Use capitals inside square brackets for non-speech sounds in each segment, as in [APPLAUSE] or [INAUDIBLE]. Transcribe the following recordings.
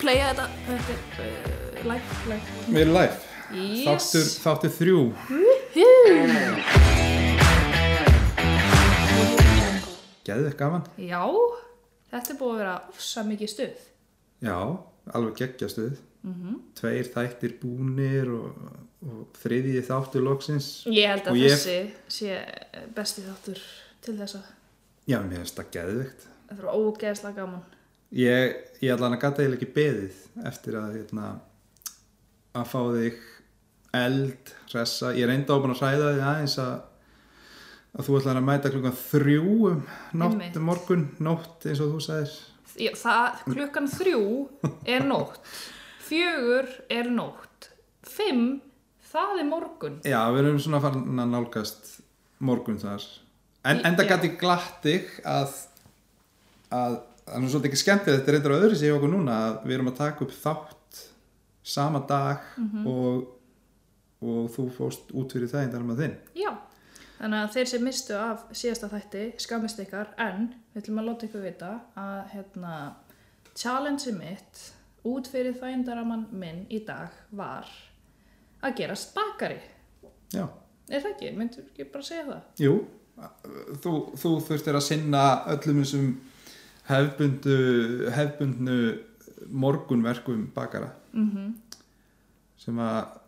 playa þetta Þetta er uh, live, live. Við erum live. Yes. Þáttur, þáttur þrjú. Geðið gaman. Já, þetta er búið að vera ofsa mikið stuð Já, alveg geggjastuð. Tveir þættir búnir og, og þriðið þáttur loksins. Ég held Og að ég- þessi sé eh, besti þáttur til þess að Já, mér finnst það geðvikt. þetta er ógeðslega gaman Ég, ég allan að gata eiginlega ekki beðið eftir að, hérna, að fá þig eld, hressa. Ég reynda á búin að hræða þig aðeins að að þú ætlar að mæta klukkan þrjú um nótt, Einmitt. morgun, nótt eins og þú sagðir. Já, það, klukkan þrjú er nótt fjögur er nótt fimm, það er morgun Já, við erum svona farin að nálgast morgun þar En, Í- enda já. gæti ég glatt þig að að það er nú svolítið ekki skemmtið þetta er reyndar á öðru sér okkur núna að við erum að taka upp þátt sama dag Mhm. og, og þú fórst út fyrir það en það er með þinn Já, þannig að þeir sem mistu af síðasta þætti skamist ykkar en við ætlum að láta ykkur vita að hérna, challenge mitt út fyrir þægindaraman minn í dag var að gerast bakari. Já, Er það ekki? Myndur ekki bara segja það? jú þú, þú þurftir að sinna öllum þessum hefbundu hefbundnu morgunverkum bakara Mm sem að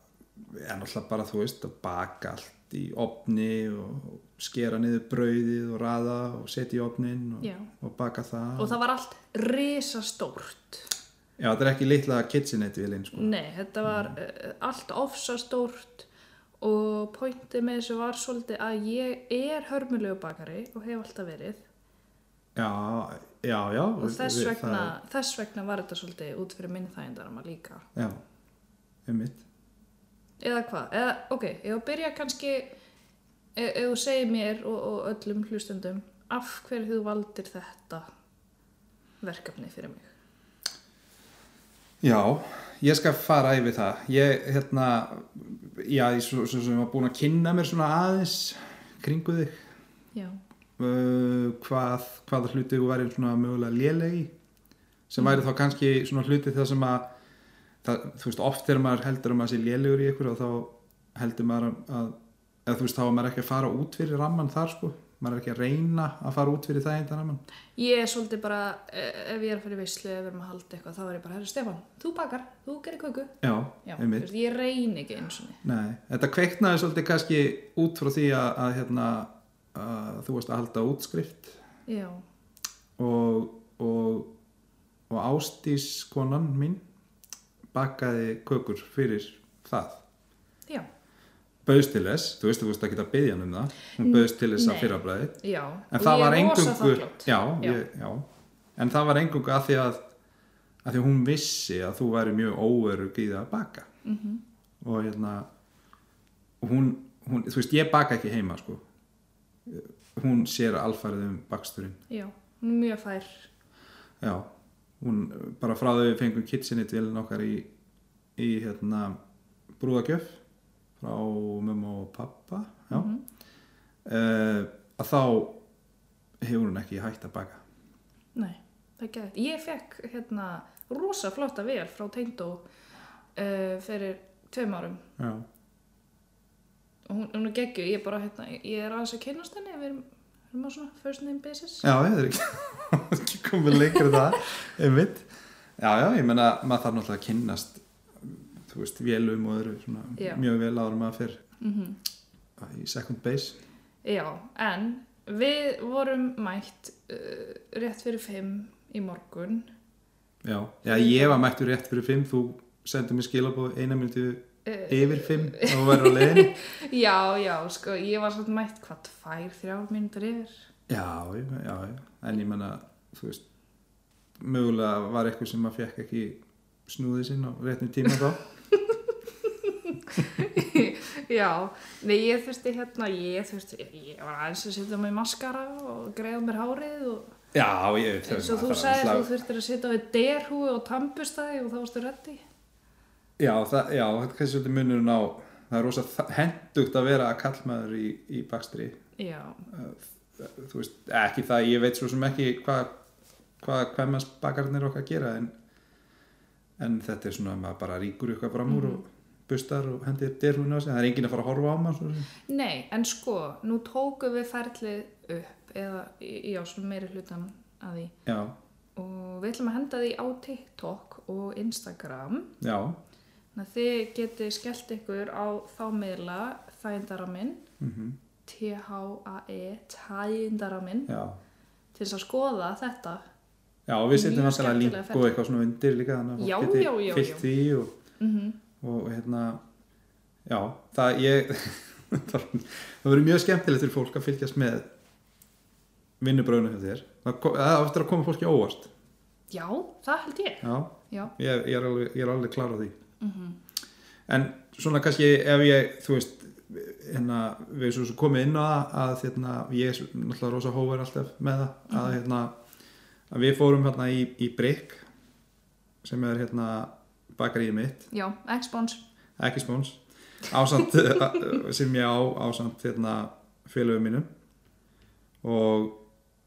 er náttúrulega bara þú veist að baka allt í opni og og skera niður brauðið og raða og setja í opnin og, Já. og baka það Og það var allt risastórt. Já, þetta er ekki litla kitchenette vilin sko. Nei, þetta var uh, allt ofsastórt og pointið með þessu var svolítið að ég er hörmulegu bakari og hef alltaf verið Já, já, já og þess við- vegna, það- þess vegna var þetta svolítið út fyrir minn þægindarma líka Já, um mitt eða hvað, eða, ok, ég að byrja kannski e- ef þú segir mér og, og öllum hlustendum af hverju þú valdir þetta verkefni fyrir mig Já, ég skal fara yfir það. Ég, hérna, já, ég svo, svo sem var búin að kynna mér svona aðeins kringu þig, já, uh, hvað, hvaða hluti þú væri svona mögulega lélegi, sem væri þá kannski svona hluti það sem að, það, þú veist, oft þegar maður heldur að maður sé lélegur í ykkur og þá heldur maður að, að eða þú veist, þá er maður ekki að fara út fyrir ramman þar, sko, maður er ekki að reyna að fara út fyrir það eindan ramman. ég er svolítið bara e- ef ég er fyrir veislu, ef við erum að halda eitthvað þá er ég bara, herri Stefán, þú bakar, þú gerir köku Já, já, þú einmitt. veist, ég reyni ekki eins og niður Nei, þetta kveiknaði svolítið kannski út frá því að, að, hérna, að þú varst að halda útskrift já, og, og, og ástís konan mín bakaði kökur fyrir það. já, Bauðst til þess, þú veist þú veist ekki að byggja hann um það, hún bauðst til þess Nei. að fyrrabræði. já En það var engungu, já, já, ég, já, en það var engungu að því að, að því að hún vissi að þú væri mjög óörug í það að baka. mm og hérna og hún, hún, þú veist, ég baka ekki heima sko hún sér alfarið um baksturinn já, hún er mjög fær já, hún bara frá þau við fengum kitchenit vilin okkar í, í hérna brúðagjöf frá mömmu og pappa já mm Mhm. að þá hefur hún ekki hægt að baka Nei, það er gæðið. Ég fekk hérna rosa flotta vel frá Teindó uh, fyrir tveim árum já, og hún, hún er geggju, ég er bara hérna, ég er aðeins að kynnast henni, við erum, við erum á svona first name basis. já, ég er ekki, [LAUGHS] ekki komið lengur en það einmitt, já, já, ég menna maður þarf náttúrulega að kynnast þú veist, vélum og öðru svona, Já. mjög vel áður en maður fyrr Mm í second base Já, en við vorum mætt uh, rétt fyrir fimm í morgun. já. já, ég var mættur rétt fyrir 5 þú sendið mér skilabóð eina myndi Uh, yfir 5 og þú verður á leiðinni [LAUGHS] já, já, sko, ég var svolítið mætt hvað tvær, þrjár mínútur yfir. já, já, já, já. en ég menna þú veist, mögulega var eitthvað sem maður fekk ekki snúðið sinn á réttum tíma þá Já, nei ég þurfti hérna, ég þurfti, ég var aðeins að setja á mig maskara og greiða mér hárið og [LAUGHS] já, ég eins og þú það er sagði náttúrulega- þú þurftir að setja á þig derhúi og tampustæði og þá varstu reddi. Já, það, já, þetta er kannski svolítið munurinn á það er rosa þa- hendugt að vera að kallmaður í, í bakstri Já, þú veist, ekki það, ég veit svo sem ekki hvað hva, hva, hva bakarnir okkar gera en, en þetta er svona að maður bara ríkur eitthvað fram úr Mhm. og bustar og hendir derhúinu á sig, það er enginn að fara að horfa á maður svo. Nei, en sko, nú tókum við ferlið upp eða, já, svona meiri hlutan að því já, og við ætlum að henda því á TikTok og Instagram já, þannig að þið getið skellt ykkur á þá miðla þægindaraminn mm T-H-A-E þægindaraminn já E, til þess að skoða þetta já, og við setjum Mjög alltaf skemmtilega link og eitthvað svona undir líka þannig Já, að fólk já, já, geti fyllt já. því og, mm og hérna já, það ég [LAUGHS] það verður mjög skemmtilegt fyrir fólk að fylgjast með vinnubröðunum hjá þér það ko- það á eftir að koma fólki á óvart Já, það held ég já, Já, ég, ég, er alveg, ég er alveg klar á því en svona kannski ef ég þú veist hérna, við svo, svo komið inn á það að hérna, ég er svo- náttúrulega rosa hóver alltaf með það að, hérna, að við fórum hérna í, í Brick sem er hérna bakaríið mitt, já, X-Bones ekki spóns [LAUGHS] ásamt eh, sem ég á ásamt hérna félögum mínum og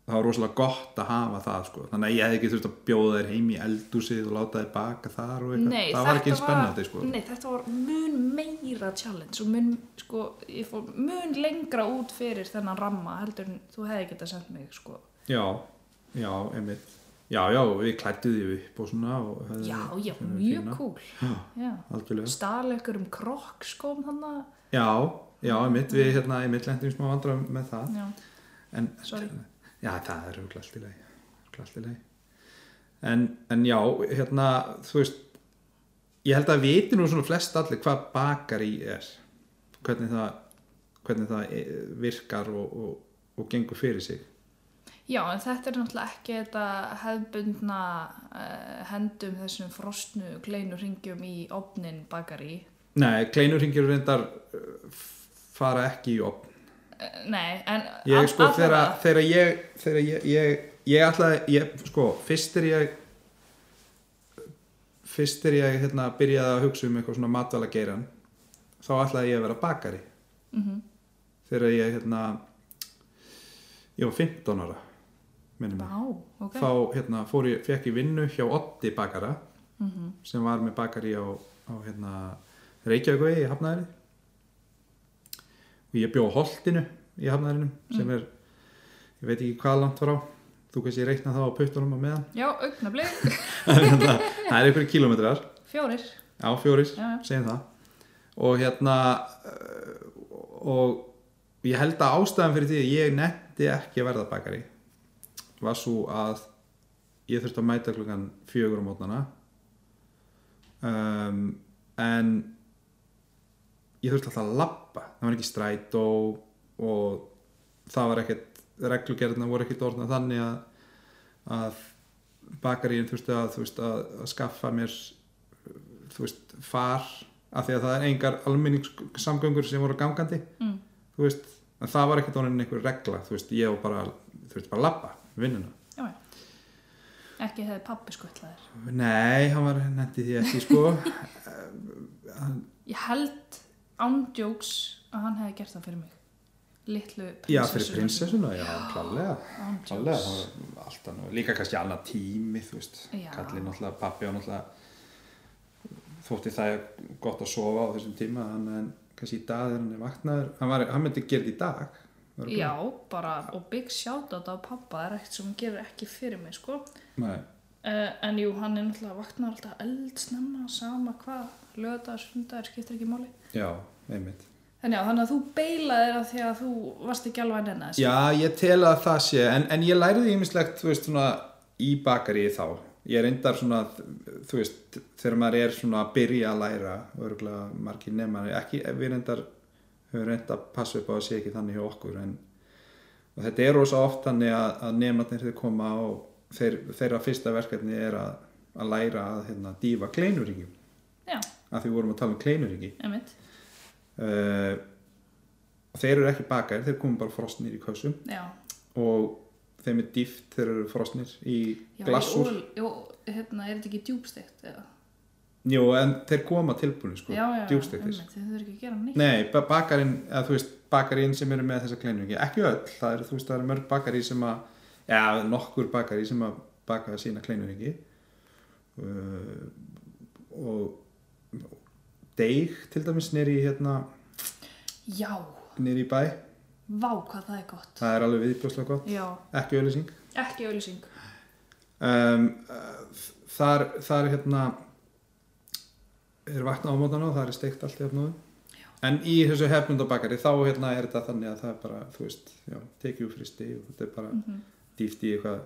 það var rosalega gott að hafa það sko. þannig að ég hefði ekki þurft að bjóða þér heim í eldúsið og láta þér baka þar og eitthvað Nei, það var þetta ekki eins spennandi sko. Nei, þetta var mun meira challenge og mun, sko, ég fór mun lengra út fyrir þennan ramma heldur en þú hefði getað sendt mig, sko Já, já, einmitt Já, já, við klættum því upp og svona og höfðum- Já, já, höfðum mjög fína. cool Já, Já, algjörlega stal ykkur um krokk skóm þannig Já, já, einmitt, við hérna einmitt lentum í smá vandra með það Já, en, Sorry. Já, það er örugglega allt í lagi örugglega allt í lagi en, en já, hérna, þú veist ég held að viti nú svona flest allir hvað bakar í er hvernig það, hvernig það eh, virkar og, og, og gengur fyrir sig já en þetta er náttúrulega ekki þetta hefðbundna uh, hendum þessum frostnu kleinu ringjum í opnin bakari Nei, kleinurhingir reyndar eh, f- fara ekki í opn uh, Nei, en ég all- sko þegar allavega- þegar ég þegar ég, ég, ég ætlaði ég, sko, fyrst er ég fyrst er ég hérna, byrjaði að hugsa um eitthvað svona matvæla geiran þá ætlaði ég að vera bakari Mhm. þegar ég hérna ég var 15 ára minnum mig Vá, ok þá hérna fór ég, fekk ég vinnu hjá Otti bakara Mhm. sem var með bakari á, á hérna Reykjavíkvegi í Hafnaðari og ég bjó á Holtinu í Hafnaðarinu Mhm. sem er, ég veit ekki hvað langt frá þú kannski reikna það á puttunum á meðan Já, augnablik, Hérna, það er einhverju kilometrar fjórir á fjóris, Já, já. segjum það og hérna eh, og ég held að ástæðan fyrir því að ég netti ekki að verða bakari var svo að ég þurfti að mæta klukkan fjögur á mótnana um, en ég þurfti alltaf að labba það var ekki strætó og það var ekkert reglugerðna voru ekkert orðna þannig að, að bakaríin þurfti að, þú veist, að, að skaffa mér þú veist, far af því að það er engar almenningssamgöngur sem voru gangandi Mm. þú veist, en það var ekkert orðin einhver regla þú veist, ég var bara, þú veist, bara labba vinnuna Já, já. Ekki hefði pappi skuttlaðir. Nei, hann var netti því ekki sko Ég held ándjóks að hann hefði gert það fyrir mig. Littlu prinsessu. [LAUGHS] Já, fyrir prinsessuna, já, klálega Klálega, Ándjóks. það var alltaf nú Líka kannski annað tími, þú veist Já. Kallið náttúrulega, pappi á náttúrulega Þótti það gott að sofa á þessum tíma En, en kannski í dag þegar hann er vaknaður Hann, var, hann myndi gera þetta í dag örugglega. Já, bara, og bygg sjátt á þetta að pappa er ekkert sem hann gerir ekki fyrir mig, sko. Nei, Uh, en jú, hann er náttúrulega vaknar alltaf eldsnemma, sama hvað, lögadagur, sundagur, skiptir ekki máli. já, einmitt En já, þannig að þú beilaðir að því að þú varst ekki alveg að nenna þessu. Já, ég tel að það sé, en, en ég læriði ýmislegt, þú veist, svona í bakari þá. Ég reyndar svona, þú veist, þegar maður er svona að byrja að læra, örgulega margir nema, ekki, við reyndar höfum reynda að passa upp á að sé ekki þannig hjá okkur, en og þetta er rosa oft þannig að, að nemarnir þeir koma og þeir, þeirra fyrsta verkefni er að, að læra að hérna, dýfa kleinuringjum, Já, að því vorum að tala um kleinuringi einmitt. uh, og þeir eru ekki bakar þeir komum bara frosnir í kössum Já, og þeim er dýft þeir eru frosnir í já glassúr Jó, jó, hérna, er þetta ekki djúbstegt eða? Jú, en þeir koma tilbúinu sko, já, já, djúpsteiktir einmitt, þið þurfum ekki að gera neitt Nei, ba- bakarinn, eða þú veist, bakarinn sem eru með þessa kleinungi, ekki öll það eru, þú veist, það eru mörg bakari sem að já, nokkur bakari sem að baka sína kleinungi uh, deig til dæmis nýri í, hérna, Já, nýri í bæ vá hvað það er gott. það er alveg viðbjóðslega gott Já, ekki auðlýsing ekki auðlýsing. um, uh, þar, þar hérna er vatna á mótan og það er steikt allt í afnóðum en í þessu hefnundabakari þá hérna er þetta þannig að það er bara þú veist, já, tekið úr fristi og þetta er bara Mm dýft í eitthvað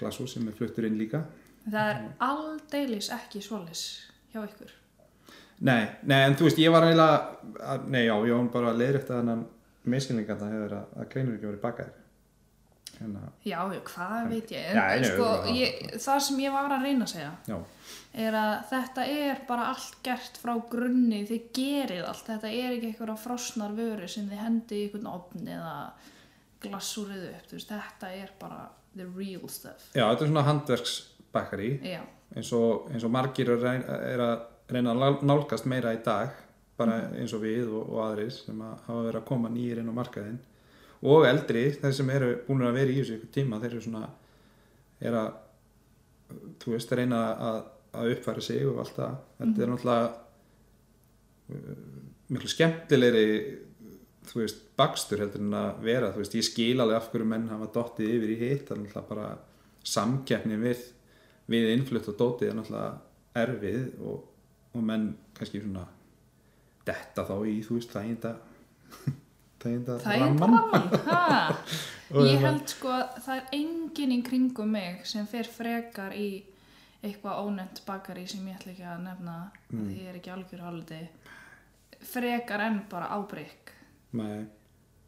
glasú sem er fluttur inn líka Það er aldeilis ekki svolis hjá ykkur. nei, nei, en þú veist, ég var eiginlega að- nei, já, ég var bara að leiðrétta þannan meðskilninga það hefur að, að kleinur ekki verið bakari hérna, Já, já, hvað veit ég. En, Já, nei, sko, nei, ég, það sem ég var að reyna að segja já, er að þetta er bara allt gert frá grunni, þið gerið allt. Þetta er ekki einhverja frosnar vöru sem þið hendi í einhvern ofn eða glassúriðu upp. þú Veist, þetta er bara the real stuff. já, þetta er svona handverksbakari Já, eins og, eins og margir er, reyn, er að reyna að nál- nálgast meira í dag bara eins og við og, og aðrir sem að hafa verið að koma nýjir inn á markaðinn og eldri, þeir sem eru búin að vera í þessu ykkur tíma, þeir eru svona er að þú veist, reyna að, að uppfæra sig og allt það, þetta er náttúrulega uh, miklu skemmtilegri þú veist, bakstur heldur en að vera þú veist, ég skil alveg af hverju menn hafa dottið yfir í hitt, það er náttúrulega bara samkeppni við við innflutt og dótið er náttúrulega erfið og, og menn kannski svona detta þá í, þú veist, þæginda [LAUGHS] þæginda það er bara mann. Ha? [LAUGHS] Ég hérna- held sko að það er enginn í kringum mig sem fer frekar í eitthvað ónefnt bakari sem ég ætla ekki að nefna mm. því ég er ekki algjör hálfdi frekar en bara á brygg Nei,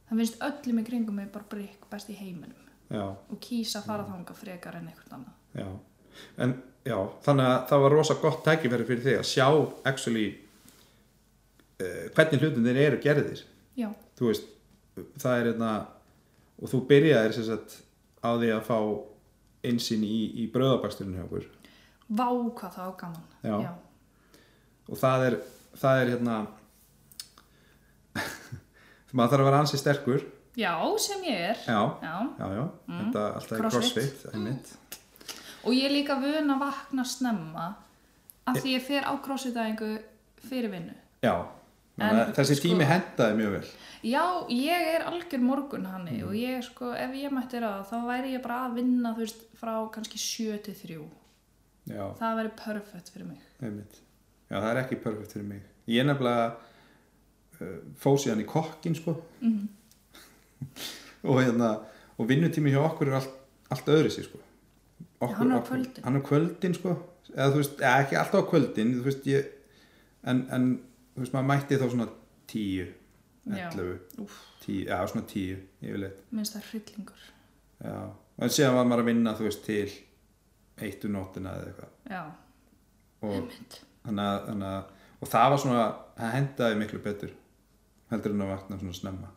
það finnst öllum í kringum mig bara brygg best í heiminum já, og kýsa að Mm. fara þanga frekar en eitthvað annað já en já, þannig að það var rosa gott tækifæri fyrir þig að sjá actually uh, hvernig hlutin þeir eru gerðir Já, þú veist, það er einna og þú byrjaðir sem sagt á því að fá einsinn í, í bröðabaksturinn hjá okkur vá hvað það var gaman Já. og það er, það er hérna [LAUGHS] maður þarf að vera ansi sterkur Já, sem ég er já, Já. já, já, þetta alltaf er Mm. Crossfit. Mm. crossfit einmitt. og ég er líka vun að vakna snemma af því ég fer á crossfitæðingu fyrir vinnu já, en, En, þessi sko- tími hendaði mjög vel Já, ég er algjör morgun hanni Mm. og ég sko, ef ég mætti ráða þá væri ég bara að vinna, þú veist, frá kannski 7 til 3. já, Það væri perfect fyrir mig. einmitt já, það er ekki perfekt fyrir mig ég nefnilega uh, fóð síðan í kokkin sko Mhm. [LAUGHS] og hérna og vinnutími hjá okkur er allt, allt öðru sér sko hann er á kvöldin. hann er á kvöldin sko eða þú veist, eða ekki alltaf á kvöldin þú veist, ég, en, en þú veist, maður mætti þá svona tíu Já. 11, Úf, tíu, já svona tíu yfirleitt, minnst það er hryllingur. já en síðan var maður að vinna, þú veist, til eittu nóttina eða eitthvað Já, og mynd. þannig að, þannig að og það var svona, það hendaði miklu betur heldur en að vakna svona snemma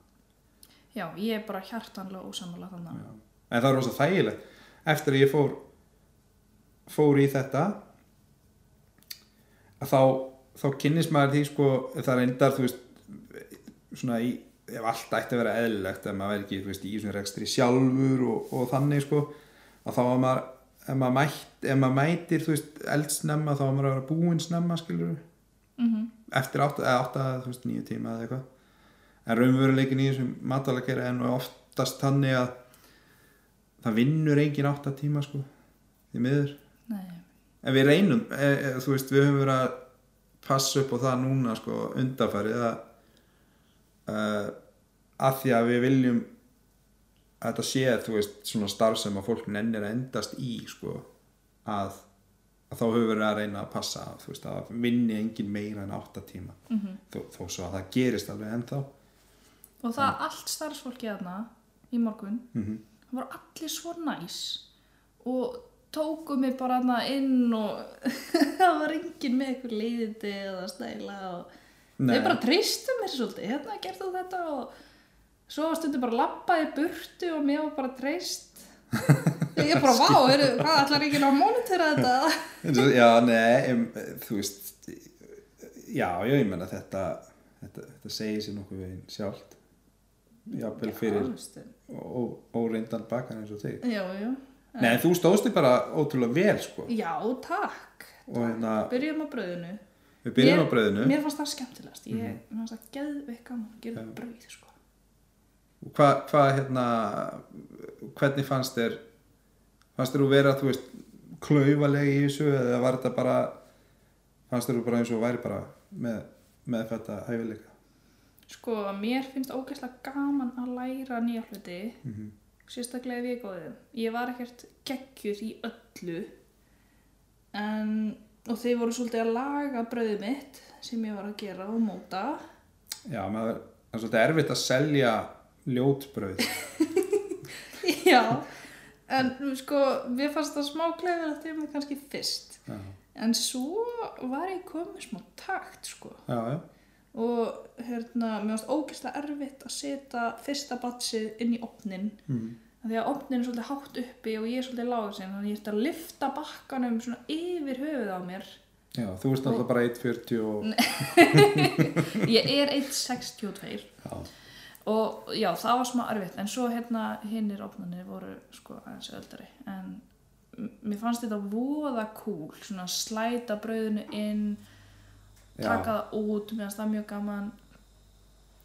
Já, ég er bara hjartanlega ósamlega þannig. Já. en það er rosa þægilegt eftir að ég fór fór í þetta að þá þá kynnist maður því sko það reyndar þú veist svona í, ef allt ætti að vera eðlilegt ef maður væri ekki þú veist í svona rekstri sjálfur og, og þannig sko að þá að maður ef maður, mætt, ef maður mætir þú veist eldsnemma þá á maður að vera búinn snemma skilur Mm -hmm. eftir 8, 8 þú veist, 9 tíma eða eitthvað en raunveruleikin í þessum matalakera er nú oftast þannig að það vinnur engin 8 tíma sko, því miður Nei, en við reynum, e, e, þú veist, við höfum verið að passa upp á það núna sko, undarfærið að uh, að því að við viljum að þetta sé, þú veist, svona starf sem að fólk nennir að endast í sko, að, að þá höfum við verið að reyna að passa, að, þú veist, að vinni engin meira en 8 tíma mhm. þó, þó svo að það gerist alveg ennþá Og það allt starfsfólki þarna í morgun, Mhm. það voru allir svo næs og tóku mig bara þarna inn og [LAUGHS] það var enginn með eitthvað leiðindi eða stæla og Nei. þau bara treystu mér svolítið, hérna gerðu þú þetta og svo var stundum bara labbaði í burtu og mér var bara [LAUGHS] treyst. Ég er bara, vá, eru, hvað ætlar ekki að monitora [LAUGHS] þetta? Eins og- já, nei, em, þú veist já, já, ég menna þetta, þetta þetta segir sér nokkuð veginn sjálft jáfnvel fyrir Já, ó- óreyndan bakar eins og þig já, já. nei, en þú stóðst þig bara ótrúlega vel sko Já, takk. og hérna, Byrjum á bröðinu. Við byrjum Mér- á brauðinu. Mhm. Mér fannst það skemmtilegast, ég mér fannst það geðveikt gaman að gera Já. brauð, sko. Hvað, hvað, hérna, hvernig fannst þér, fannst þér þú vera, þú veist, klaufalega í þessu eða var þetta bara, fannst þér þú bara eins og væri bara með, með þetta hæfileika? Sko, mér finnst ógeðslega gaman að læra nýja hluti, Mm -hmm. sérstaklega ef ég er góðið. Ég var ekkert geggjur í öllu, en, og þeir voru svolítið að laga brauðið mitt sem ég var að gera og móta. Já, maður, það er svolítið erfitt að selja ljótbrauð. Já, en sko, mér fannst það smá kleifir að þeim kannski fyrst. já, En svo var ég komið smá takt, sko. já, já. og hérna, mér varst ógeðslega erfitt að setja fyrsta batsið inn í opnin Mm. því að opnin er svolítið hátt uppi og ég er svolítið lágur sinni þannig að ég ætti að lifta bakkanum svona yfir höfuð á mér Já, þú veist alltaf bara 1.40 og... ég er 1.62 Já. og já, það var smá erfitt en svo hérna hinnir opnanir voru sko aðeins öldari en m- mér fannst þetta voða cool svona slæta brauðinu inn Já. taka það út, mér fannst það mjög gaman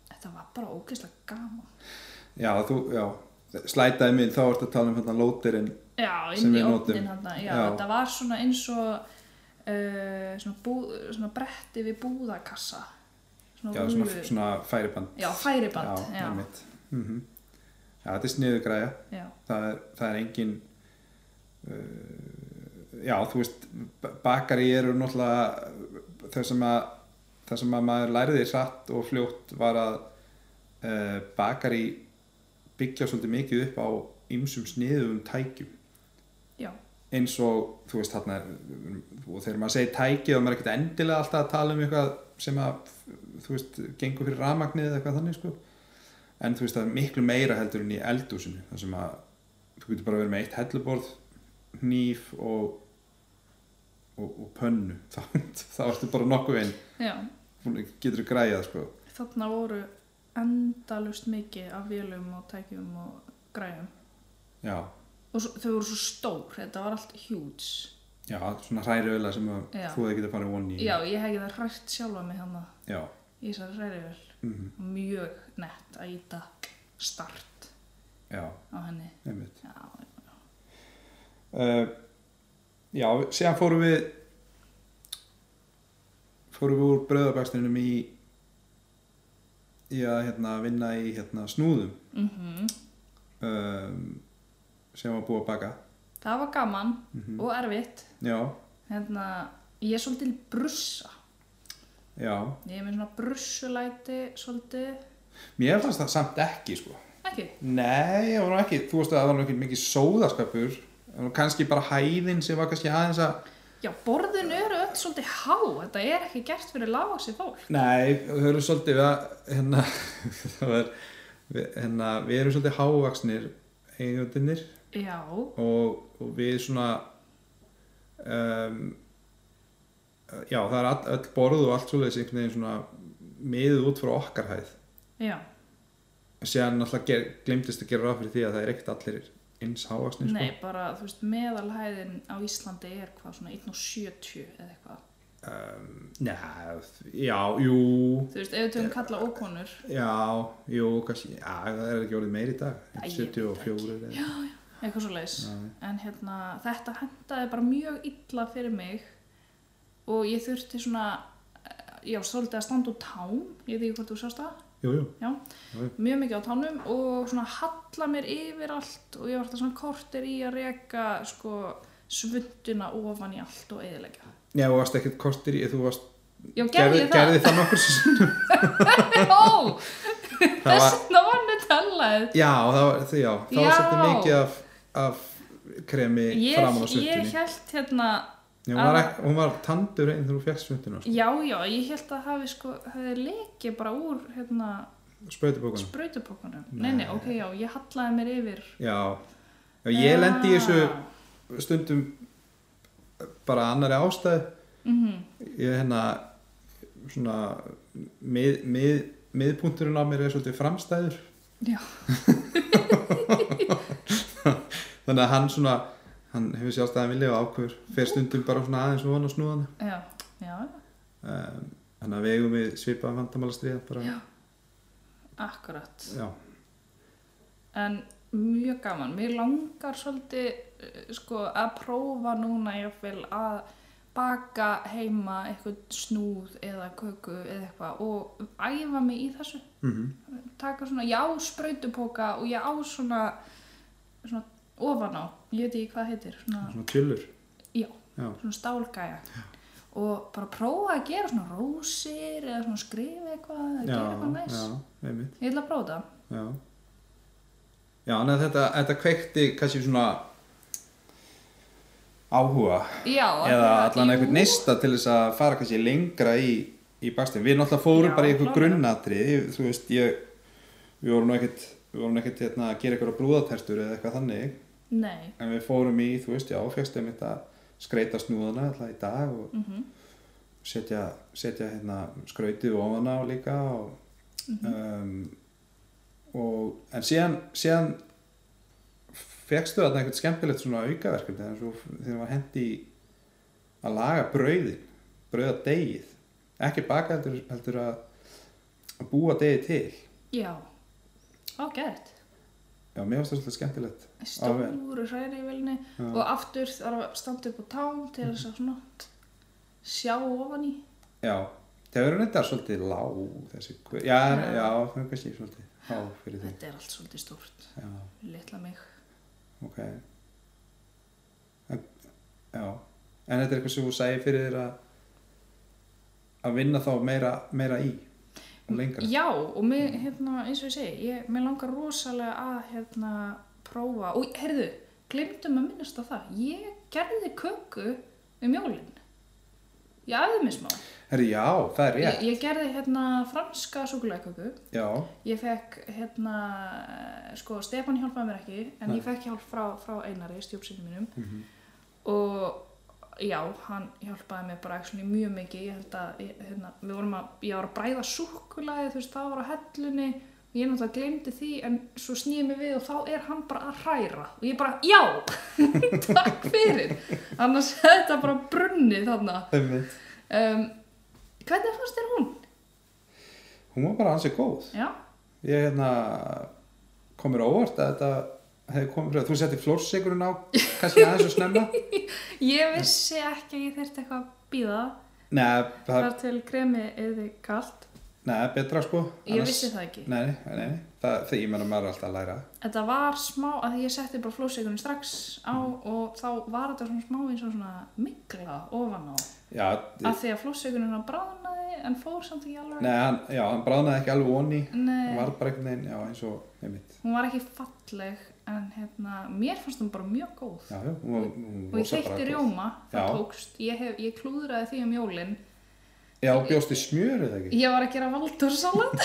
þetta var bara ógeðslega gaman Já, þú, já, slætaði mig, þá ertu að tala um hérna lóterinn. Já, sem inn í við notum. opnin hann já, Já. þetta var svona eins og uh, svona, bú, svona bretti við búðakassa svona Já, svona, svona færiband. já, færiband Já, já, einmitt. Mhm. Já, þetta er sniðu græja. já, Það er, það er engin, uh, já, þú veist, b- bakari eru náttúrulega þau sem að, það sem að maður læriði satt og fljótt var að uh, bakari byggja svolítið mikið upp á ymsum sniðum tækjum já, eins og, þú veist, þarna er, og þegar maður segir tækið og maður er ekkert endilega alltaf að tala um eitthvað sem að, þú veist, gengur fyrir ramagnið eða eitthvað þannig, sko en þú veist, það er miklu meira heldur en í eldúsinu þar sem að, þú getur bara verið með eitt helluborð, hníf og og, og pönnu [LAUGHS] þá, þá ertu bara nokkuð einn já. getur græjað, sko þarna voru endalust mikið af vélum og tækjum og græjum já, og svo, þau voru svo stór, þetta var allt huge já, svona hræriöla sem að Já. þú hefði getað farið vonni í já, ég hefði það hrært sjálfa mig hann já. í þessari hrærivel mhm, mjög nett að íta start já, á henni einmitt já, uh, já, síðan fórum við fórum við úr bröðabækstinum í í að hérna, vinna í hérna, snúðum mhm um, sem var búið að baka það var gaman Mhm. og erfitt já, hérna, ég er svolítið brussa já ég er með svona brussulæti svolítið mér fannst það samt ekki sko ekki, nei, það var nú ekki, þú veist að það var nú ekki mikið sóðaskapur það var nú kannski bara hæðin sem var kannski aðeins að já borðin eru öll svolítið há, þetta er ekki gert fyrir lágasi fólk nei, þau eru svolítið við að hérna, [LAUGHS] það var við, hérna, við erum svolítið hávaksnir eigundinnir já, og, og við svona um, já það er all, öll borð og allt svoleiðis einhvern veginn svona miðið út frá okkar hæð já, síðan náttúrulega ger, glemtist að gera ráð fyrir því að það er ekkert allir eins hávaksni sko. nei bara þú veist meðalhæðin á Íslandi er hvað svona 1.70 eða eitthvað um, neð, já, jú þú veist, ef við tökum kalla ókonur já, jú, kannski já, það er ekki orðið meir í dag Æ, ég veit það 74 eða já, eitthvað svo leis, en hérna þetta hendaði bara mjög illa fyrir mig og ég þurfti svona eh, já, svolítið að standa út tám ég veit ekki hvort þú sást það jú, jú, Já, Já, já. mjög mikið á tánum og svona halla mér yfir allt og ég var alltaf svona kortir í að reka sko svunduna ofan í allt og eðilegja. já, þú varst ekkert kortir í þú varst, Já, gerði ég það? [LAUGHS] gerði það nokkur sem Ó, það var, þess vegna var nutellað. Já, það var, það, já, það var Já. svolítið mikið af, af kremi Ég, framan á ég svuntunni. held hérna, Hún var, að- ekki, hún var tandur einn þegar hún fekk svuntuna, sko, já, já, ég held að hafi sko, hefði lekið bara úr hérna sprautubókunum. sprautupokkanum. Nei. Nei, nei, ok, já, ég hallaði mér yfir. Já, já ég Já. lendi í þessu stundum bara annari ástæðu. Mhm, Ég hérna, svona, mið, mið, miðpunturinn á mér er svolítið framstæður. já, [LAUGHS] Þannig að hann svona, hann hefur sjálfstæðan vilja og ákveður, fer stundum bara svona aðeins og vona snúðana. já, já, um, þannig að við eigum við svipað vandamálastriða bara, Já, akkurat. já, En mjög gaman. Mér langar svolítið eh, sko, að prófa núna jáfnvel að baka heima eitthvað snúð eða köku eða eitthvað og æfa mig í þessu. mhm Taka svona, já, sprautupoka og ég á svona, svona ofan á, ég veit ekki hvað það heitir, svona, svona tjölur já, já, svona stálgæja. Og bara prófa að gera svona rósir eða svona skrifa eitthvað, eða já, gera eitthvað næs. já, einmitt Ég ætla að prófa það. Já, já en þetta, þetta kveikti kannski svona áhuga Já, eða akkurat, allan jú. einhvern neista til þess að fara kannski lengra í, í bakstin. Við náttúrulega fórum Já, bara í einhver klárlega. grunnatrið, þú veist, ég, við vorum nú ekkert, við vorum nú ekkert hérna, að gera einhverja brúðatertur eða eitthvað þannig, Nei, en við fórum í, þú veist, já, fegst einmitt að skreita snúðana alltaf í dag og mhm. setja, setja hérna, skrautið ofan á líka og, um, og en síðan, síðan fegstu þarna eitthvað skemmtilegt svona aukaverkefni þegar svo, þegar var hendi í að laga brauðin brauða degið ekki baka heldur, heldur að, að búa degið til Já, ágætt. já, mér finnst það svolítið skemmtilegt Stóru hræri í velni Já. og aftur þarf að standa upp á tám til þess að svona sjá ofan í. já, þegar eru þetta svolítið lág þessi, hver- já, já, Já. já það er kannski svolítið há fyrir því Þetta er allt svolítið stórt, já. litla mig. Ok. En, já. En þetta er eitthvað sem þú sagði fyrir þér að að vinna þá meira, meira í og lengra. Já, og mig, hérna, eins og ég segi, ég, mér langar rosalega að hérna, prófa, og heyrðu, glemdum að minnast á það, ég gerði köku um jólinn. Ég æfði mig smá. Herri, já, það er Ég, rétt. ég gerði hérna franska súkulæköku. Já, Ég fekk hérna, eh, sko Stefán hjálpaði mér ekki, en Nei. ég fekk hjálp frá, frá Einari, stjópsinni mínum Mhm. og já, hann hjálpaði mér bara actually mjög mikið, ég held að ég, hérna, við vorum að, ég var að bræða súkulaði þú veist, það var á hellunni og ég náttúrulega glemdi því en svo snýði mig við og þá er hann bara að hræra og ég bara, já, [LAUGHS] takk fyrir annars hefði þetta bara brunnið þarna einmitt. um, hvernig fannst þér hún? Hún var bara ansið góð. Já, Ég hérna komur á óvart að þetta hefði komið fyrir að þú setti flórsikurinn á kannski aðeins og [LAUGHS] snemma. ég vissi ekki að ég þyrfti eitthvað að býða Nei, það, Þar til kremi eða kalt. nei, betra sko. Ég vissi það ekki. Nei, nei, nei. Það, því ég meina maður er alltaf að læra. Þetta var smá, að því ég setti bara flósíkunni strax á Mm. og þá var þetta svona smá eins og svona mikla ofan á. Já, Af því að flósíkunni hann bráðnaði en fór samt ekki alveg. nei, hann, já, hann bráðnaði ekki alveg onni. Nei, Það var bara einhvern veginn, já, eins og einmitt. hún var ekki falleg en hérna, mér fannst hún bara mjög góð. Já, já, hún var, hún og ég þeytti rjóma, það Já. tókst, ég, hef, ég klúðraði því um jólinn. Já, hún bjóst í smjör eða ekki? Ég var að gera valdursalat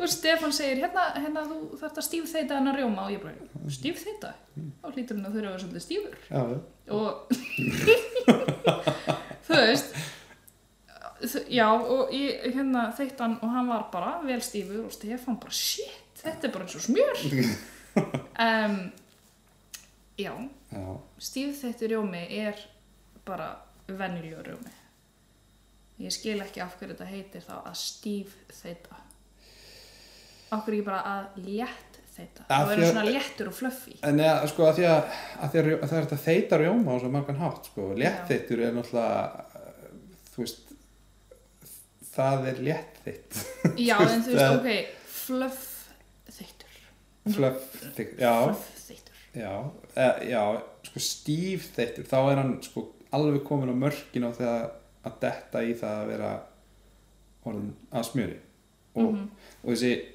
og Stefan segir hérna, hérna þú þarft að stíf þeita hennar rjóma og ég bara stíf þeita? Þá hlýtur hann að þurfa að vera svolítið stífur Já, já. og [LAUGHS] þú veist þ- já og ég hérna þeytt hann og hann var bara vel stífur og Stefan bara shit, þetta er bara eins og smjör um, Já, Já, stíf þeittur rjómi er bara venjulegur rjómi ég skil ekki af hverju þetta heitir þá að stíf þeita af hverju ekki bara að létt þeita Af það því verður að- svona léttur og fluffy en eða, sko, að því að, að, því að rjó- það er þetta þeyta rjóma á svo margan hátt, sko. Léttþeytur er náttúrulega, eh, þú veist, það er léttþeytt. já en þú veist það- ok fluff þeittur Flöfþeytt, já, fluff þeittur já, eh, já, sko, stífþeytur, þá er hann, sko, alveg komin á mörkin á þegar að detta í það að vera orðin að smjöri. Og og þessi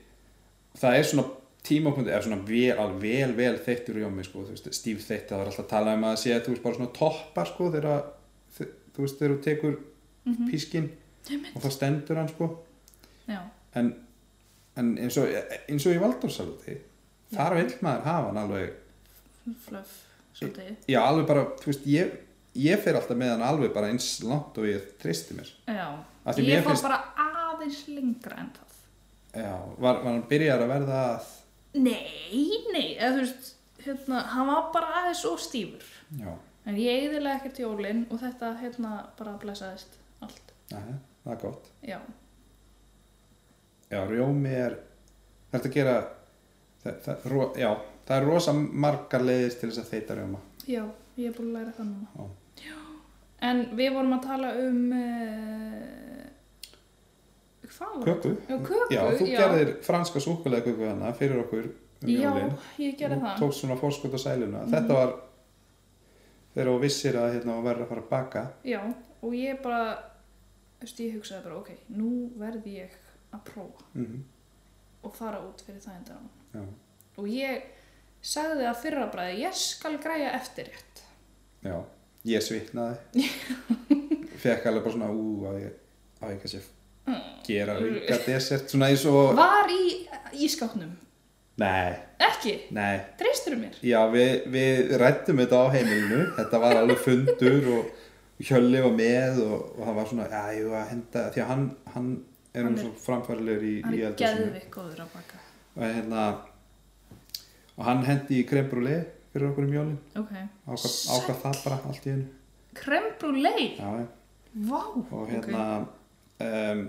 það er svona tímapunkti er svona vel, alveg vel, vel þeittur rjómi sko, þú veist, stíf þeitt það er alltaf að tala um að sé að þú veist bara svona toppar sko, þegar að- þe- þú veist, þegar þú tekur mm Mhm. pískin og þá stendur hann sko já, en, en eins og eins og í valdórsaluti þar vil maður hafa hann alveg fluff svolítið já, alveg bara, þú veist, ég ég fer alltaf með hann alveg bara eins langt og ég tristi mér já, Af því mér ég fór finnst- bara aðeins lengra en það já, var, var hann byrjar að verða að nei, nei, eða þú veist hérna, hann var bara aðeins og stífur já, En ég eðilega ekkert jólinn og þetta hérna bara blessaðist. allt. Nei, það er gott. Já, Já, rjómi er, það er að gera, það, það, ro, já, það er rosa margar leiðir til þess að þeita rjóma. já, ég er búin að læra það núna. Já. En við vorum að tala um, uh, hvað var Köku? Já, köku, Já, þú gerðir franska súkulega köku hana fyrir okkur um Já, jólin. ég gerði Þú það. Mhm. tókst svona fórskot á sæluna. Þetta var, þegar þú vissir að hérna var verið að fara að baka. Já, og ég bara, þú veist, ég hugsaði bara, ok, nú verð ég að prófa Mm og fara út fyrir það endan. Já, Og ég sagði að fyrra bræði, ég skal græja eftir rétt. já, ég svitnaði. [LAUGHS] Fekk alveg bara svona, ú, að ég, að ég kannski Mm. gera auka desert svona eins og... Var í ískápnum, Nei, ekki, nei, treystur mér. Já, við, við rættum þetta á heimilinu, þetta var alveg fundur og Hjölli var með og, og það var svona, já, ég var að henda, því að hann, hann er Hann hann er- svo framfærilegur í, Hann í er eldhúsinu. geðvik góður að baka. og, hérna, og hann hendi í krembrúli fyrir okkur um jólin, Ok. ákvað, ákvað það bara allt í hennu. Krembrúlei, Já, já. vá, og hérna, um,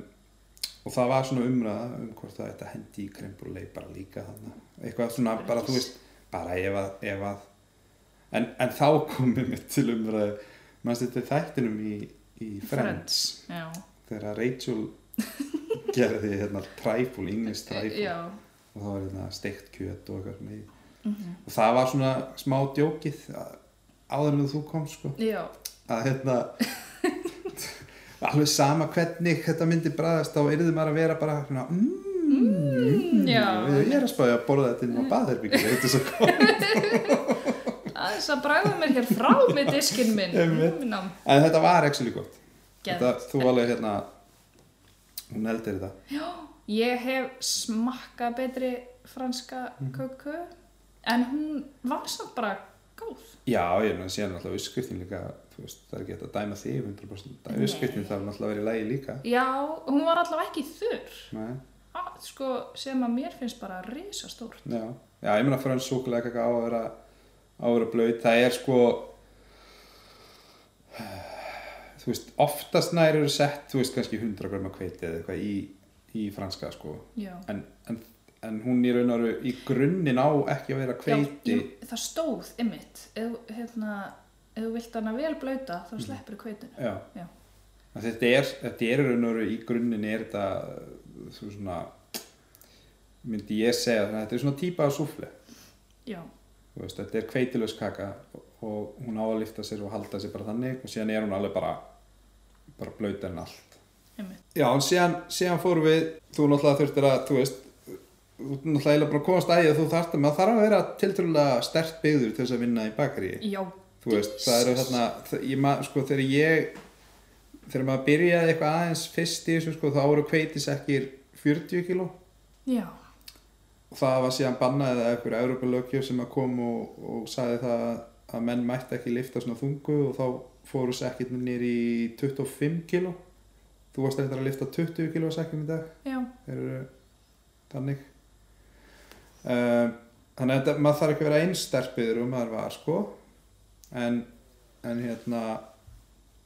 og það var svona umræða um hvort það ætti að hendi í krembrúli bara líka þannig, eitthvað svona, bara þú veist, bara ef að, ef að en, en þá [LAUGHS] komum við til umræðu maður stætti þættinum í, í Friends Friends. Já, þegar Rachel gerði hérna træfúl, English træfúl já, og það var hérna steikt kjöt og eitthvað svona í Mhm. og það var svona smá djókið að- áður en þú kom sko já, að hérna alveg sama hvernig þetta myndi bræðast þá yrði maður að vera bara svona, mm, Mm, já. Mm. ég er að spája að borða þetta inn á baðherbyggju þetta er svo gott aðeins að bræða mér hér [LAUGHS] frá með diskinn minn. Einmitt. Mm, nám. En þetta var actually gott Geðveikt. þetta, Þú alveg hérna Hún eldir þetta Ég hef smakkað betri franska Mhm. köku en hún var samt bara góð. Já, ég meina síðan er alltaf uskvirtin líka þú veist, Það er ekki hægt að dæma því 100% Nei. Uskvirtin þarf alltaf að vera í lægi líka Já, hún var allavega ekki þurr, Nei, Ah, sko, sem að mér finnst bara risastórt. já. já, ég meina frönn súkulega kaka á að vera á að vera blöyt Það er sko Þú veist, oftast nær eru sett Þú veist, kannski 100 gröma kveiti eða eitthvað í, í franska sko Já. En, en, en hún í raun og veru í grunnin á ekki að vera kveiti Já, ég, það stóð ymmit, ef, hérna, ef þú vilt hana vel blauta Mm. þá sleppur kveitinu. Já. Já. Að Þetta er, þetta er í raun og veru í grunninn er þetta þú veist svona myndi ég segja þannig að þetta er svona típa af súfle Já, þú veist, þetta er kveitilaus kaka og hún á að lifta sér og halda sér bara þannig og síðan er hún alveg bara bara blöyt en allt ymmit. Já, en síðan, síðan fórum við þú náttúrulega þurftir að, þú veist þú ert náttúrulega eiginlega bara að komast að því að þú þarft að maður þarf að vera tiltrúlega stert byggður til þess að vinna í bakaríi Já, þú veist, það eru Jesus. þarna þ- ég, ma- sko, þegar ég þegar maður byrjaði eitthvað aðeins fyrst í þessu sko, þá voru kveitisekkir 40 kíló já, og það var síðan bannaðið að einhverju Europalökjöf sem að kom og, og sagði það að menn mætti ekki lifta svona þungu og þá fóru sekkirnir nýr í 25 kíló þú varst eitthvað að lifta 20 kíló sekkjum í dag já, þeir eru þannig um, þannig að þetta- maður þarf ekki að vera einstarpiður og maður var sko en, en hérna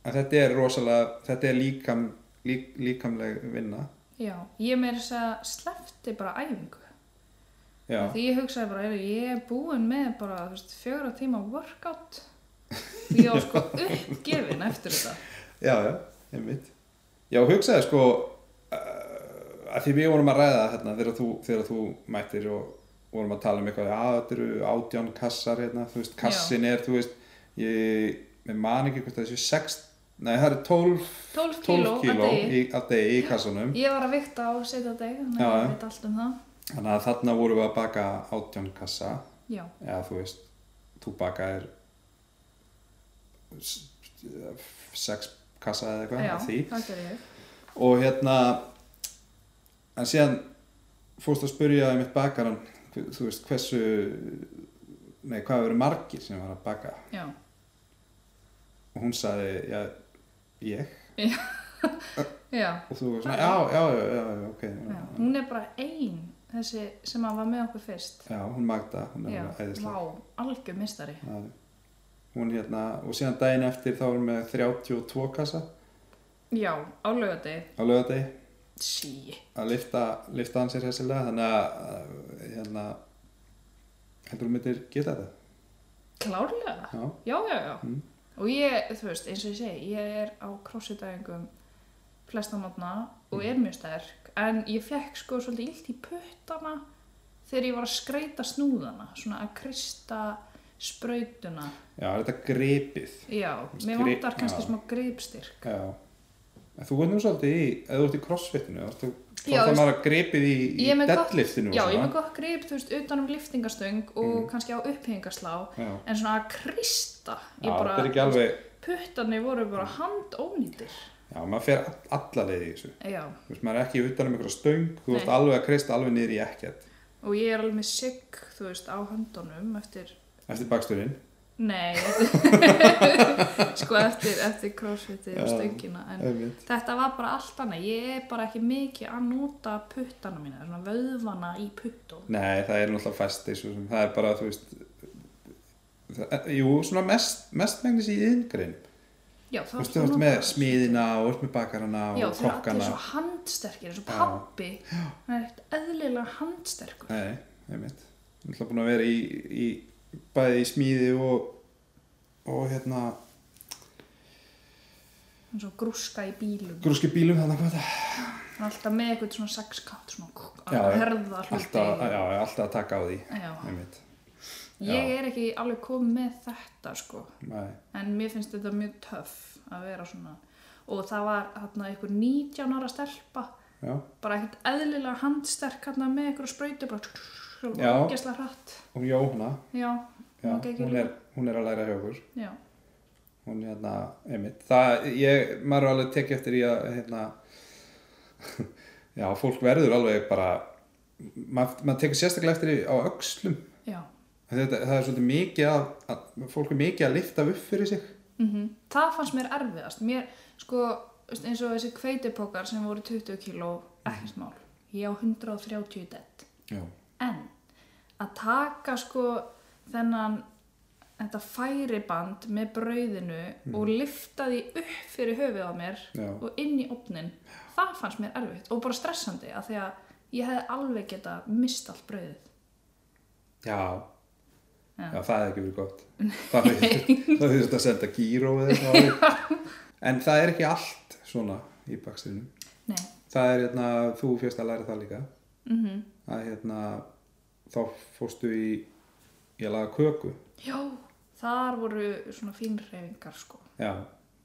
en þetta er rosalega þetta er líkam, lík, líkamleg vinna já. Ég meira þess að sleppti bara æfingu. já, Því ég hugsaði bara, heyrðu, ég er búin með bara þú veist, fjögra tíma workout [LAUGHS] og ég var sko uppgefin eftir þetta. já, já, einmitt já, hugsaði sko uh, að því við vorum að ræða hérna, þegar, þú, þegar þú mættir og vorum að tala um eitthvað, já, þetta eru átján kassar hérna, þú veist, kassin er þú veist, ég, ég man ekki hvort það séu 6, nei það eru 12 12 kíló 12 að kíló degi. í, að degi í kassunum Ég var að vikta á setja deg, þannig Já, að já. ég veit allt um það. þannig að þarna vorum við að baka átján kassa Já, eða þú veist, þú bakaðir s- sex kassa eða eitthvað já, af því það gerði ég. og hérna en síðan fórst að spyrja um eitt bakaran hve- þú veist hversu nei hvað eru margir sem var að baka Já, og hún sagði já, ég já. og þú var svona já, já, já, já, já ok Já, hún er bara ein þessi sem að var með okkur fyrst já, hún magda, hún er já, æðislega vá, algjör mistari Já. hún hérna og síðan daginn eftir þá erum við með 32 kassa Já, á lögadegi. á lögadegi Sí. að lifta, lifta hann sér hessilega þannig að uh, hérna, heldur þú myndir geta þetta Klárlega. já, Já, já, já. Mm. Og ég, þú veist, eins og ég segi, ég er á crossfit-æfingum flesta mótna Mm. og er mjög sterk. En ég fekk sko svolítið illt í puttana þegar ég var að skreita snúðana. Svona að krista sprautuna. já er þetta gripið Já, Þú veist, mér gri- vantar kannski já. smá gripstyrk. já En Þú ert nú svolítið í, ef þú ert í crossfitinu, þá ert Já, það veist- maður að gripið í, í Ég er með gott- deadliftinu Já, ég og er svona. Mm. með gott grip, þú veist, utan um liftingastöng og kannski á upphengaslá. Já, En svona að krista, já ég þetta er bara, ekki alveg, puttarnir voru bara handónýtir. já, maður fer all- alla leið í þessu. Já, Þú veist, maður er ekki utan um einhverja stöng, þú Nei. ert alveg að kreista alveg niður í ekkert. og ég er alveg með sigg, þú veist, á höndunum eftir, Eftir baksturinn. nei, [LAUGHS] eftir, sko eftir, eftir crossfitið og Já. stöngina. En Einmitt. þetta var bara allt annað, ég er bara ekki mikið að nota puttana mína, svona vöðvana í puttum. Nei, það er náttúrulega fæsti svo sem það er bara, þú veist það, Jú, svona mest, mestmengnis í yðingrein Já, það Þú veist, þú ert með smiðina og ert með Já, bakarana og þeir eru allir kokkana svo handsterkir, eins og Já. pappi, hann er ekkert eðlilega handsterkur. Nei, einmitt Náttúrulega búin að vera í, í bæði í smíði og og hérna, Hann er svo grúska í bílum, grúski bílum þannig hvað þetta hann er alltaf með eitthvað svona sexkant, svona kúk, að Já, já. herða hluti. alltaf, já, já, alltaf að taka á því Já, einmitt, ég Já. er ekki alveg komið með þetta sko, nei, en mér finnst þetta mjög töff að vera svona og það var hérna einhver 19 ára stelpa, já, bara ekkert eðlilega handsterk hérna með einhverja sprautu bara Já. ógesla hratt og Jóhanna já, já, hún gekk í hún, er, lið. hún er að læra hjá okkur já, hún hérna, einmitt það, ég, maður er alveg tekið eftir í að hérna [LAUGHS] já, fólk verður alveg bara maður, maður tekur sérstaklega eftir í- á öxlum já. þetta, það er svolítið mikið að, að fólk er mikið að lifta upp fyrir sig Mm það fannst mér erfiðast mér, sko, veist, eins og þessi kveitipokar sem voru 20 kíló ekkert mál, ég á 130 dett já, En að taka sko þennan þetta færiband með brauðinu og lifta því upp fyrir höfuð á mér já, og inn í opnin, það fannst mér erfitt og bara stressandi að því að ég hefði alveg geta mist allt brauðið. já Já. já, það er ekki verið gott það er það er þetta að senda gíró eða eitthvað en það er ekki allt svona í bakstrinum Nei, það er hérna, þú fyrst að læra það líka mhm, að hérna þá fórstu í ég laga köku já, þar voru svona fínreifingar sko. já,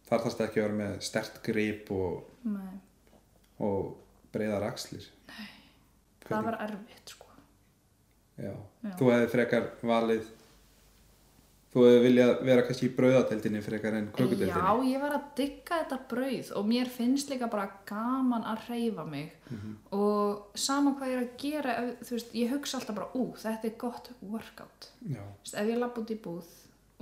þar þarfst ekki að vera með stert grip og, Nei, og breyðar axlir það Hvernig- var erfitt sko. já. Já. þú hefði frekar valið þú hefði viljað vera kannski í brauðateldinni frekar en kökuteldinni Já, ég var að digga þetta brauð og mér finnst líka bara gaman að hreyfa mig og sama hvað ég er að gera, ef, þú veist, ég hugsa alltaf bara, ú, þetta er gott workout. já, Þú veist, ef ég lapp út í búð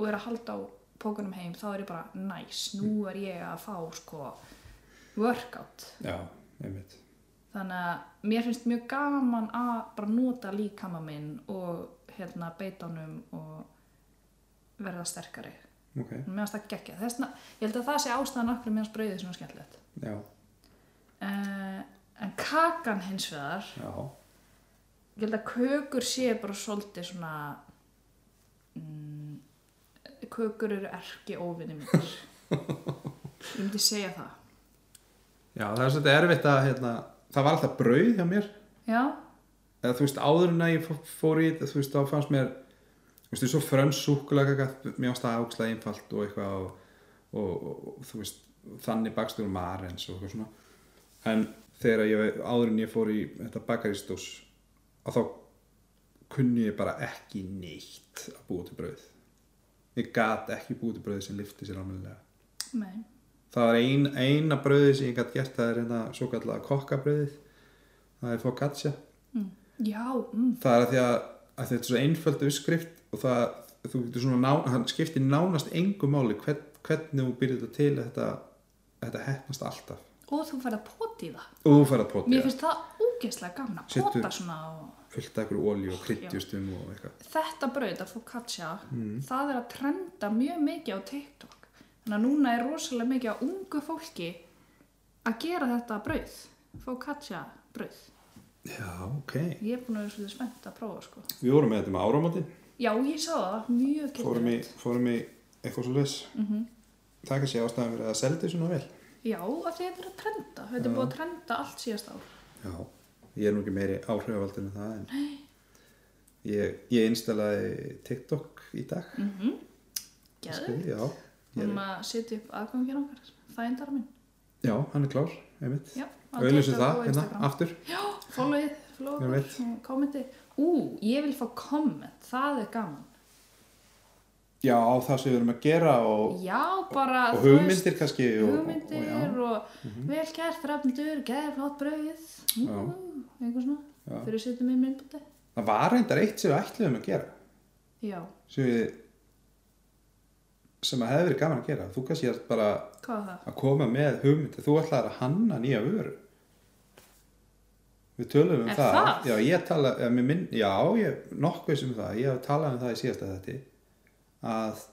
og er að halda á pókunum heim, þá er ég bara, næs, nú er ég að fá, sko, workout. já, einmitt Þannig að mér finnst mjög gaman að bara nota líkama minn og hérna beitanum og verða sterkari. ok, Mér finnst það geggja. Þessna, ég held að það sé ástæðan okkur meðan brauðið sem er skemmtilegt. já, Uh, en kakan hins vegar, já ég held að kökur sé bara svolítið svona, mm, kökur eru erki óvinni mér. ég myndi segja það. já, það er svolítið erfitt að hérna, það var alltaf brauð hjá mér Já, eða þú veist áður en að ég fó- fór í þetta þú veist þá fannst mér þú veist, svo frönsk súkulega mér ást það ákslega einfalt og eitthvað og, og, og, og þú veist þannig bakstur maður eins og eitthvað svona en þegar ég áður en ég fór í þetta bakaristús að þá kunni ég bara ekki neitt að búa til brauð ég gat ekki búa til brauð sem lifti sér alveg nei, það var ein, eina brauði sem ég gat gert það er hérna svo kallega kokkabrauðið það er focaccia mm. já, mm. það er að því að, að þetta er svo einföld uppskrift og það, þú getur svona ná, hann skiptir nánast engu máli hvern, hvernig þú byrðir þetta til að þetta, þetta hefnast alltaf og þú færð að poti í það. og þú færð að pota Mér ja, finnst það ógeðslega gaman að Setur- pota svona og... fullt af ykkur olju og kryddjustum og eitthvað þetta brauð að focaccia, Mm. það er að trenda mjög mikið á TikTok. Þannig að núna er rosalega mikið á ungu fólki að gera þetta brauð, focaccia brauð. Já, ok. Ég er búin að vera svolítið spennt að prófa sko. Við vorum með þetta með áramóti, Já, ég sá það, mjög fórum í, kynilegt. fórum í eitthvað svo leys. Mm -hmm. Það er kannski ástæðan fyrir að seldi svona vel. Já, að því þetta er að trenda. Þetta Já. er búið að trenda allt síðast ár. Já, ég er nú ekki meiri áhrifavaldin en það en ég, ég installaði TikTok í dag. Mm -hmm. Gæðu. Skil, Já, ég Hún er, að setja upp aðgangin okkar, fændar minn. já, hann er klár, einmitt. Já, á Auðlýsum TikTok það, og hérna, Instagram. aftur. Já, fólagið, Ég fólagið, veit. kommenti. Ú, ég vil fá komment, það er gaman. Já, á það sem við erum að gera og, Já, bara, og þú veist, hugmyndir kannski. og- og- hugmyndir og, og, vel gert, rafnendur, geðið flott brauð, ú, Já. einhver svona, Já. fyrir að setja mig í myndbúti. Það var reyndar eitt sem við ætluðum að gera Já, sem við sem að hefði verið gaman að gera þú kannski er bara hvað var það? að koma með hugmyndi þú ætlaðir að hanna nýja vöru við tölum um Er það. það? já, ég tala, já, mér minn, já, ég nokkuð sem það, ég hef talað um það í síðasta þetta að,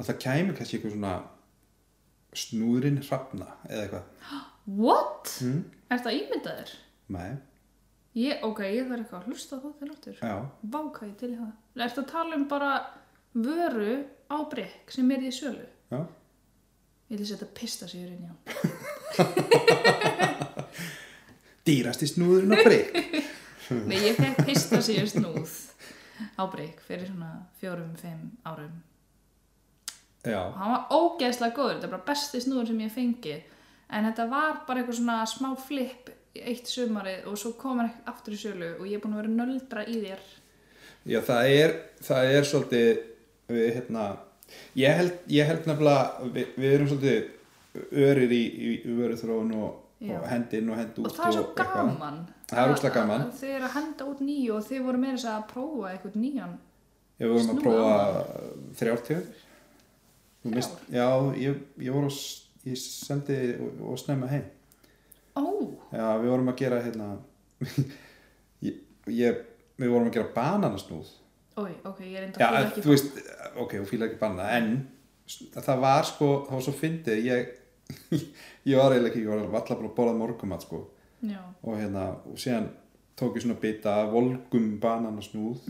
að það kæmi kannski eitthvað svona snúðurinn hrafna eða eitthvað What? mm. Er það ímyndaður? Nei, Ég, ok, ég þarf eitthvað að hlusta á það til áttur. já, Váka ég til í það. Er það að tala um bara vöru á brekk sem er í sölu? já Ég vil setja pista sigur inn í hann. [LAUGHS] dýrasti snúðurinn á brygg [LAUGHS] Nei, ég fekk pista sigur snúð á brekk fyrir svona fjórum, fimm árum. já, og hann var ógeðslega góður, þetta er bara besti snúður sem ég hef fengið en þetta var bara eitthvað svona smá flip í eitt sumarið og svo kom hann ekki aftur í sölu og ég er búin að vera að nöldra í þér Já, það er, það er svolítið, við, hérna, ég held, ég held nefnilega, við, við erum svolítið örir í, í, í vöruþróun og, Já. og hendi inn og hendi út og það er svo eitthvað. gaman Það er ógeðslega gaman. Að- að þið eru að henda út nýju og þið voru meira að segja að prófa eitthvað nýjan Ég vorum að Snúið prófa þrjártjöður. Þrjár? Já, ég, ég voru, á s- ég sendi og, og snemma heim. ó, Já, við vorum að gera, hérna, [LAUGHS] ég, ég, við vorum að gera bananasnúð. oi, ok, ég er enda Já, að fíla þú ekki veist, ok, þú fíla ekki banna en það var sko, það var svo fyndið ég, [LAUGHS] ég var eiginlega ekki, ég var allar bara að borða morgumat sko já, og hérna, og síðan tók ég svona bita af volgum banana snúð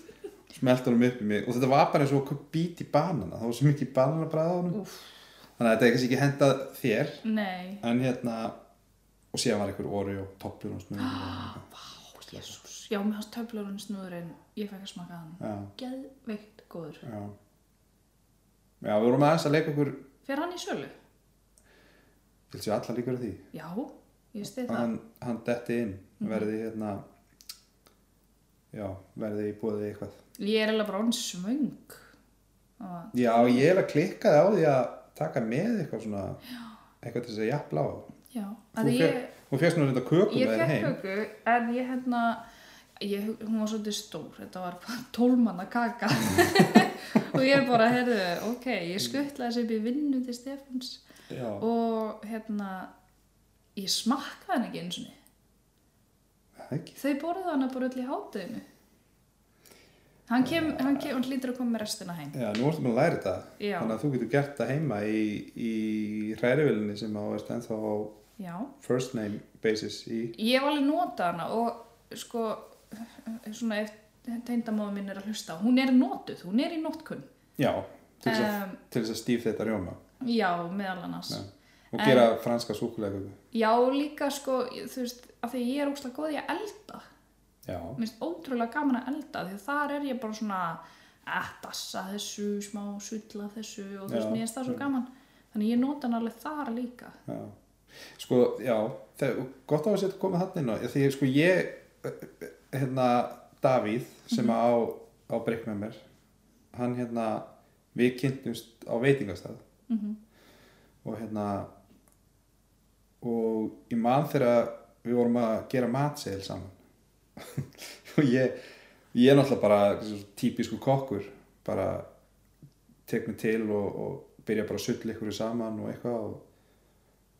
[LAUGHS] smeltur hann upp í mig og þetta var bara eins og okkur bít í banana það var svo mikið banana bræða á hann Úff. þannig að þetta er kannski ekki hendað þér nei en hérna, og síðan var einhver orði og toppur og snúð [GASPS] ó, jésús, já, með hans töflurinn snúðurinn ég fekk að smaka hann já, geðveikt góður, já já, við vorum aðeins að leika okkur fer hann í sölu? ég held sér allar líkur að því já, ég stið það að Mhm. hann, hann detti inn verði hérna já, verði í búið eitthvað Ég er alveg bara orðin svöng. Og- já, ég er að klikkaði á því að taka með eitthvað svona eitthvað til þess að jafnla á Já, að þú, því ég, ég, þú férst nú þetta kökum ég með þér fekk heim köku, en ég hérna, ég, hún var svolítið stór, þetta var [LAUGHS] tólmanna kaka. [LAUGHS] og ég bara, heyrðu, ok, ég skuttlaði þessi upp í vinnu til Stefans já, og hérna, ég smakkaði hann ekki eins og niður. það ekki Þau borðið hann bara öll í hátæðinu. Hann kem, hann kem, hann lítur að koma með restina heim. já, nú ertu búin að læra þetta Já. þannig að þú getur gert það heima í, í hrærivilinni sem á veist ennþá á Já. first name basis í Ég hef alveg notað hana og sko, svona ef teyndamóðu mín er að hlusta, hún er notuð, hún er í notkunn. já, til þess að, Um, til þess að stíf þetta rjóma já, meðal annars. Já. og en- gera franska súkulega Já, líka sko, þú veist, af því ég er ógslag góð í að elda. já, Mér finnst ótrúlega gaman að elda því að þar er ég bara svona að dassa þessu, smá sulla þessu og þú veist, Já. mér finnst það svo gaman. Þannig ég nota hana alveg þar líka. Já, sko, já, það, gott á að setja að koma þannig inn á, því að sko ég, hérna, Davíð, sem á, á breyk með mér, hann hérna, við kynntumst á veitingastað Mm -hmm. og hérna, og ég man þegar við vorum að gera matsegil saman [LAUGHS] og ég, ég er náttúrulega bara svo típisku kokkur, bara tek mig til og, og byrja bara að sull ykkur saman og eitthvað og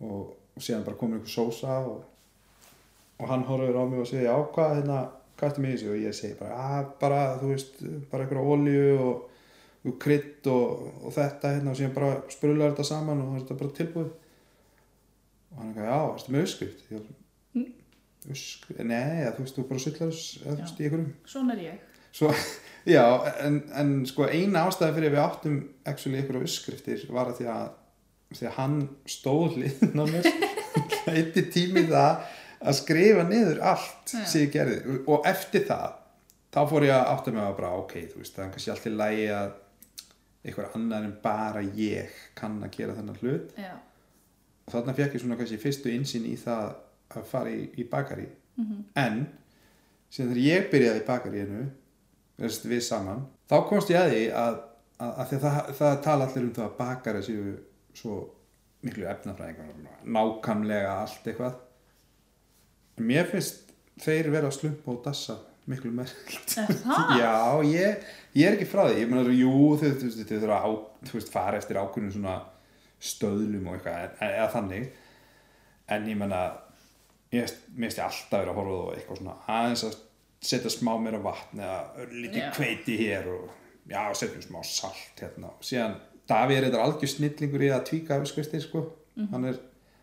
og, og síðan bara komin einhver sósa og, og hann horfir á mig og segir já hvað hérna, hvað ertu með í þessu og ég segi bara, að bara þú veist bara einhverja olíu og, og krydd og, og þetta hérna og síðan bara sprullar þetta saman og það er þetta bara tilbúið og hann eitthvað, já, erstu með öskrift ég var, öskrift, nei, eða, þú veist, þú bara sullar þess- eða, þú veist, í einhverjum Svona er ég. svo, [LAUGHS] já, en, en sko eina ástæða fyrir að við áttum actually einhverja öskriftir var að því að því að hann stóð liðin á mér eitt í tími það að skrifa niður allt Já. sem ég gerði og eftir það þá fór ég að átta mig að bara ok, þú veist, það er kannski allt í lagi að einhver annar en bara ég kann að gera þennan hlut Já. og þarna fekk ég svona kannski fyrstu insýn í það að fara í, í bakari -hmm. en síðan þegar ég byrjaði í bakaríinu við saman, þá komst ég að því að, að, að, að það, það tala allir um það að bakari séu svo miklu efnafræðingar nákamlega allt eitthvað en mér finnst þeir vera að slumpa og dassa miklu merkilt Er það? Já, ég, ég er ekki frá því ég meina, þú- jú, þau, þú veist, þau þurfa á, þú veist, fara eftir ákveðnum svona stöðlum og eitthvað, en- en- eða þannig en ég menna ég veist- mér finnst ég alltaf verið að horfa á það og eitthvað svona aðeins að setja smá meira vatn eða Já. lítið kveiti hér og já, setjum smá salt hérna og síðan Davíð er eitthvað algjör snillingur í að tvíka af skvistir, sko hann, er,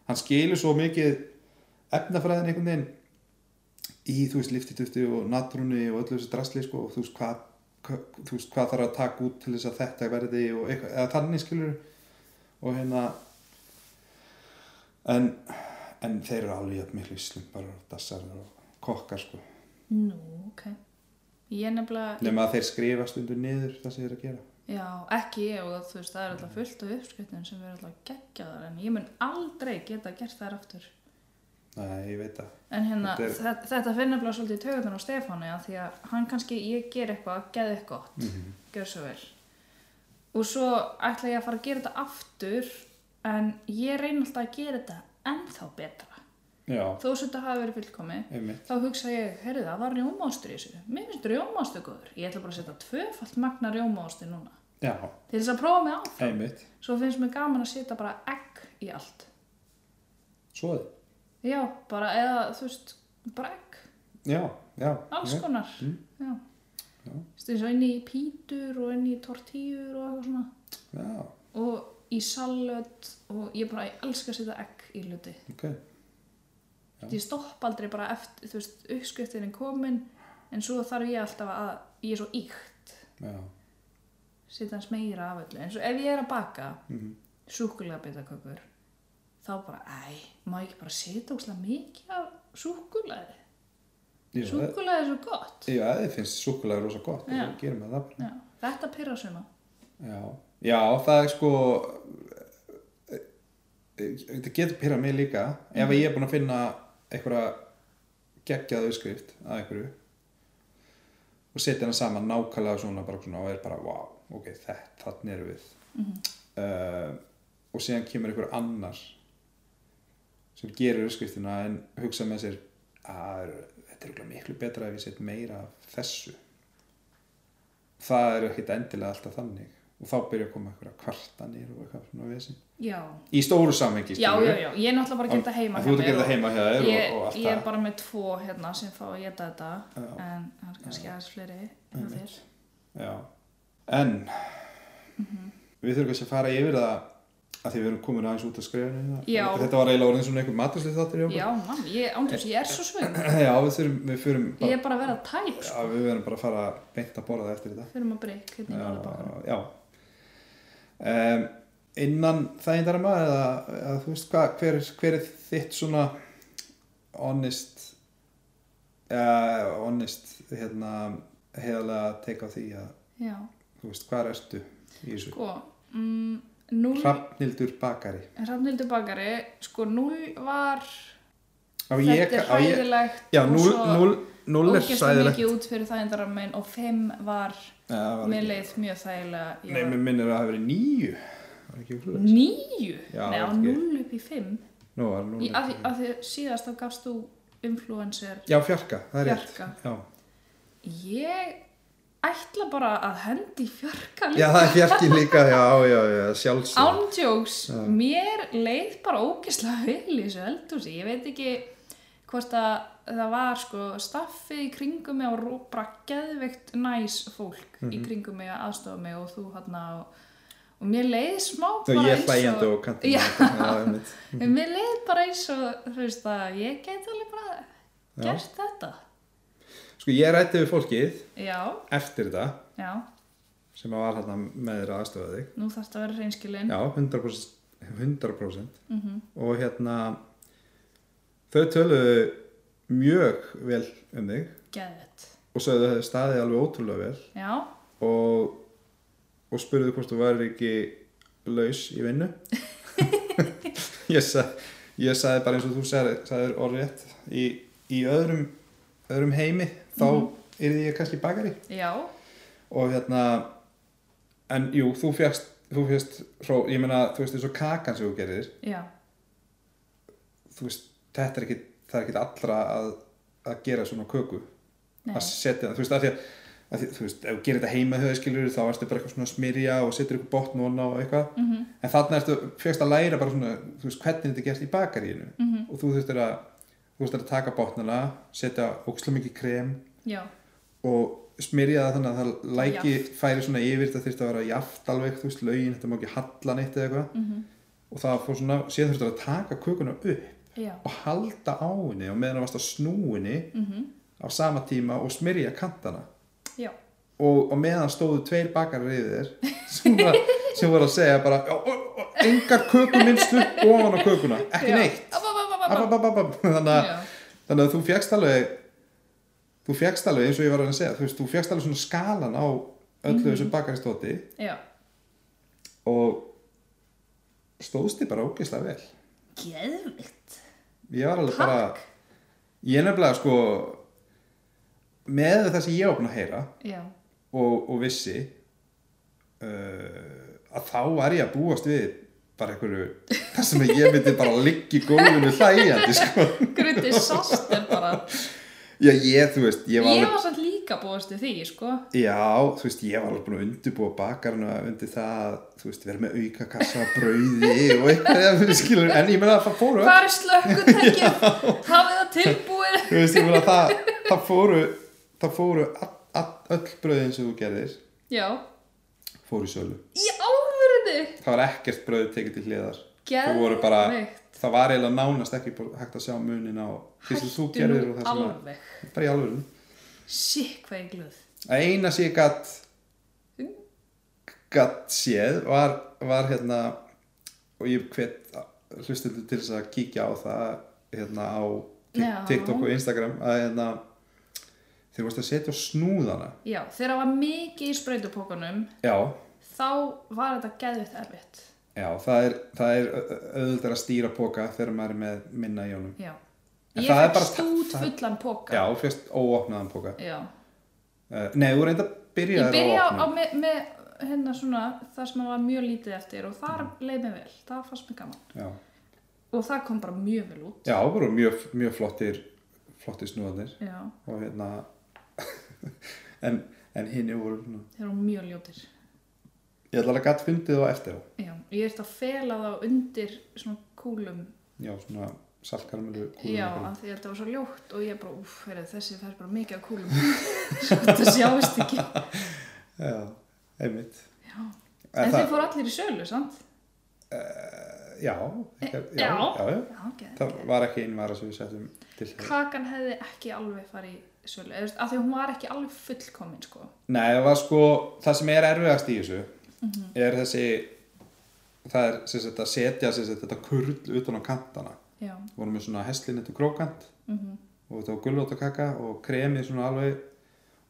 hann skilur svo mikið efnafræðin einhvern veginn í þú veist liftitufti og natrunni og öllu þessu drasli sko og þú veist hvað hva, þú veist hvað þarf að taka út til þess að þetta verði og eitthvað, eða þannig skilur og hérna en, en þeir eru alveg jafn miklu slumpar og dassar og kokkar sko Nú, ok. Ég nefnilega, nema að þeir skrifa stundur niður það sem þeir eru að gera já, ekki ég og þú veist, það er alltaf fullt af uppskriftin sem verður alltaf geggjaðar en ég mun aldrei geta gert þær aftur. Nei, ég veit að En hérna, Þetta er- þetta, þetta finnir nefnilega svolítið í tögutun á Stefáni að því að hann kannski, ég ger eitthvað, geð eitthvað gott, mm Mhm. gjör svo vel. Og svo ætla ég að fara að gera þetta aftur en ég reyna alltaf að gera þetta ennþá betra. Já, Þó sem þetta hafi verið fullkomið, einmitt þá hugsa ég, heyrðu það var rjómaostur í þessu mér finnst rjómaostur góður, ég ætla bara að setja tvöfalt magna rjómaosti núna Já, til þess að prófa mig áfram, einmitt svo finnst mér gaman að setja bara egg í allt Svoði já, bara eða þú veist bara egg, Já, já Mm. alls konar já, Já. Þú veist, og inn í pítur og inn í tortíur og eitthvað svona Já, og í salöt og ég bara ég elska að setja egg í hluti ok Já. ég stopp aldrei bara eftir, þú veist, uppskriftin er komin en svo þarf ég alltaf að, ég er svo íkt Já, setja hans meira af öllu eins og ef ég er að baka mm Mhm. -hmm. þá bara, æ, má ég ekki bara setja óslega mikið af súkulæði Jú, það- súkulæði er svo gott já þið finnst súkulega rosa gott Já. og gerum við það bara Já, þetta pyrra suma Já, já það er sko eh, þetta getur pyrra mig líka ef ég er búin að finna einhverja geggjaðu skrift að einhverju og setja hana saman nákvæmlega svona, bara svona og er bara, wow, ok, þetta, þannig erum við uh, og síðan kemur einhver annar sem gerur skriftina en hugsa með sér að þetta er örugglega miklu betra ef ég set meira af þessu það er ekkit endilega alltaf þannig og þá byrja að koma einhverja kvartanir og eitthvað svona vesin já, í stóru já, samhengi skilurðu. já, já, ég er náttúrulega bara að gera þetta heima En þú hjá ert að gera mér þetta heima hjá þér ég, og, og allt ég er það bara með tvo hérna sem fá að geta þetta Já. Mm. en það er kannski aðeins fleiri hjá Einmitt. þér Já. en við þurfum kannski að fara yfir það að því við erum komin aðeins út að skrifinu Já. þetta var eiginlega orðin svona einhver matursli þáttur hjá okkur. já, mann, ég, ándjúrs, ég er svo svöng [CLEARS THROAT] já, við þurfum, við fyrum ég bara, er bara að vera tæp sko. já, við verðum bara að fara beint að borða það eftir þetta fyrir maður breyk hérna í norðabakar já, já. Um, innan þægindarma eða, eða þú veist hvað hver, hver er þitt svona honest uh, honest hérna heiðalega teika á því að já, þú veist hvað erstu í þessu sko mm, núll Hrafnildur bakari Rafnildur bakari, sko 0 var á þetta er á ég, hæðilegt já, og núl, svo núl, núl er ógeðslega sæðilegt mikið út fyrir þægindaramenn og 5 var ja, mér leið mjög þægilega nei, mér minnir að það hafi verið níu var ekki úr hlutast 9? Já, Nei, á ekki. 0 upp í 5 nú var núl í, af, því- af því síðast þá gafst þú influencer já, fjarka, það er rétt Fjarka. já. ég ætla bara að hendi fjarka já, það er fjarki líka, já, já, já sjálfsög Ándjóks, mér leið bara ógislega vel í þessu eldhúsi. Ég veit ekki hvort að það var sko staffið í kringum mig og ró- Mhm. bara geðveikt næs fólk í kringum mig að aðstofa mig og þú hann og, og og mér leið smá Þau bara ég hlægjandi og Mhm. kattin Já. Já, En mér leið bara eins og þú veist að ég get alveg bara Já. gert þetta Sko ég rætti við fólkið já, eftir þetta já, sem að var hérna með þér að aðstofa þig nú þarf þetta að vera reynskilin Já, 100%, 100%. Mhm. og hérna þau töluðu mjög vel um þig geðvett, og sögðu þau staðið alveg ótrúlega vel já og, og spurðu hvort þú væri ekki laus í vinnu ég, sa, ég saði bara eins og þú sagði, sagðir orðrétt í, í öðrum, öðrum heimi þá mm ég kannski bakari já, og hérna en jú, þú fjast þú fjast, hró, ég meina, þú veist eins og kakan sem þú gerir, já, þú veist, þetta er ekki það er ekki allra að, að gera svona köku, nei, að setja það, þú veist, af því að, að því, þú veist, ef þú gerir þetta heima höfðu skilur, þá erstu bara eitthvað svona að smyrja og setur ykkur botn og annað og eitthvað mhm, en þarna ertu, fjöxt að læra bara svona þú veist, hvernig þetta gerst í bakaríinu mhm, og þú þurftir að, þú þurftir að taka botnana setja óksla mikið krem já og smyrja það þannig að það læki færi svona yfir þetta þurfti að vera jaft alveg, þú veist, lögin, þetta má ekki halla neitt eða eitthvað mhm, og það fór svona, síðan þurfti að taka kökuna upp já, og halda á henni og meðan það varst að snúinni mhm, á sama tíma og smyrja kantana já og, og meðan stóðu tveir bakarar yfir þér [LAUGHS] sem, var, sem voru að segja bara "Já, ó, ó, engar kökuminnslu ofan á kökuna, ekki Já. neitt Ab, ab, ab, ab, ab, ab. ab, ab, ab, ab. þannig að Já, þannig að þú fjækst alveg þú fjækst alveg eins og ég var að reyna að segja þú, veist, þú fjækst alveg svona skalan á öllu Mhm. þessu bakaristóti já, og stóðst þið bara ógeðslega vel geðvitt ég var alveg bara Takk, ég nefnilega sko með það sem ég opna að heyra já, og, og vissi uh, að þá var ég að búast við bara einhverju þar sem ég myndi bara liggi gólfinu hlægjandi sko grundi sast er bara já ég þú veist ég Ég var alveg var samt líka búast við því, sko Já, þú veist, ég var alveg búin að undirbúa bakarna undir það, að, þú veist, vera með auka kassa, brauði og eitthvað, þú skilur, en ég meina að það fóru, öll- Hvar er [LAUGHS] slökkutækið? Hafið það tilbúið? þú veist, ég meina að það, það fóru, það fóru all, all, öll brauðin sem þú gerðir, Já, fóru í sölu. í áverðinni Það var ekkert brauð tekið til hliðar. Geðveikt. Þau voru bara- Það var eiginlega nánast ekki bú- hægt að sjá munin á því sem þú Hættu gerðir nú og það sem að, alveg bara í alvöru. Sikk hvað ég glöð Að eina sem ég gatt, gatt séð var, var hérna, og ég hvet hlustundu til þess að kíkja á það hérna á Tik- Já. TikTok og Instagram að hérna þeir vorst að setja á snúðana Já, þegar það var mikið í sprautupokunum já, þá var þetta geðvitt erfitt já, það er, það er auðvitað að stýra póka þegar maður er með minna í honum Já En Ég það er fekk bara- stút það- fullan poka já, fyrst óopnaðan póka Já. uh, nei, þú reynda að byrja Ég byrja á með, með hérna svona það sem var mjög lítið eftir og þar Mhm. leið mér vel, það fannst mér gaman já, og það kom bara mjög vel út já voru mjög, mjög flottir flottir snúðanir Já, og hérna [LAUGHS] en, en hinni voru svona þeir eru mjög ljótir ég ætla að gatt fundið á eftir á Já, ég ert að fela þá undir svona kúlum já, svona saltkarmelu Já, af því að þetta var svo ljótt og ég bara, úf, heyrðu, þessi fær bara mikið af kúlum [LAUGHS] svo þetta sjáist ekki Já, já, einmitt Eh, en það- eh, þið fóru allir í sölu, sant? Já, ekki, já, já. já, já. Já, ok, Það ok var ekki einvara sem við settum til hér. Kakan hefði ekki alveg farið í sölu eða, þú veist, af því að hún var ekki alveg fullkomin, sko Nei, það var sko, það sem er erfiðast í þessu Mhm. er þessi, það er sem sagt að setja sem sagt þetta kurl utan á kantana. Já, Við vorum með svona heslinn þetta krókant mhm, og þetta var gulvóttakaka og kremið svona alveg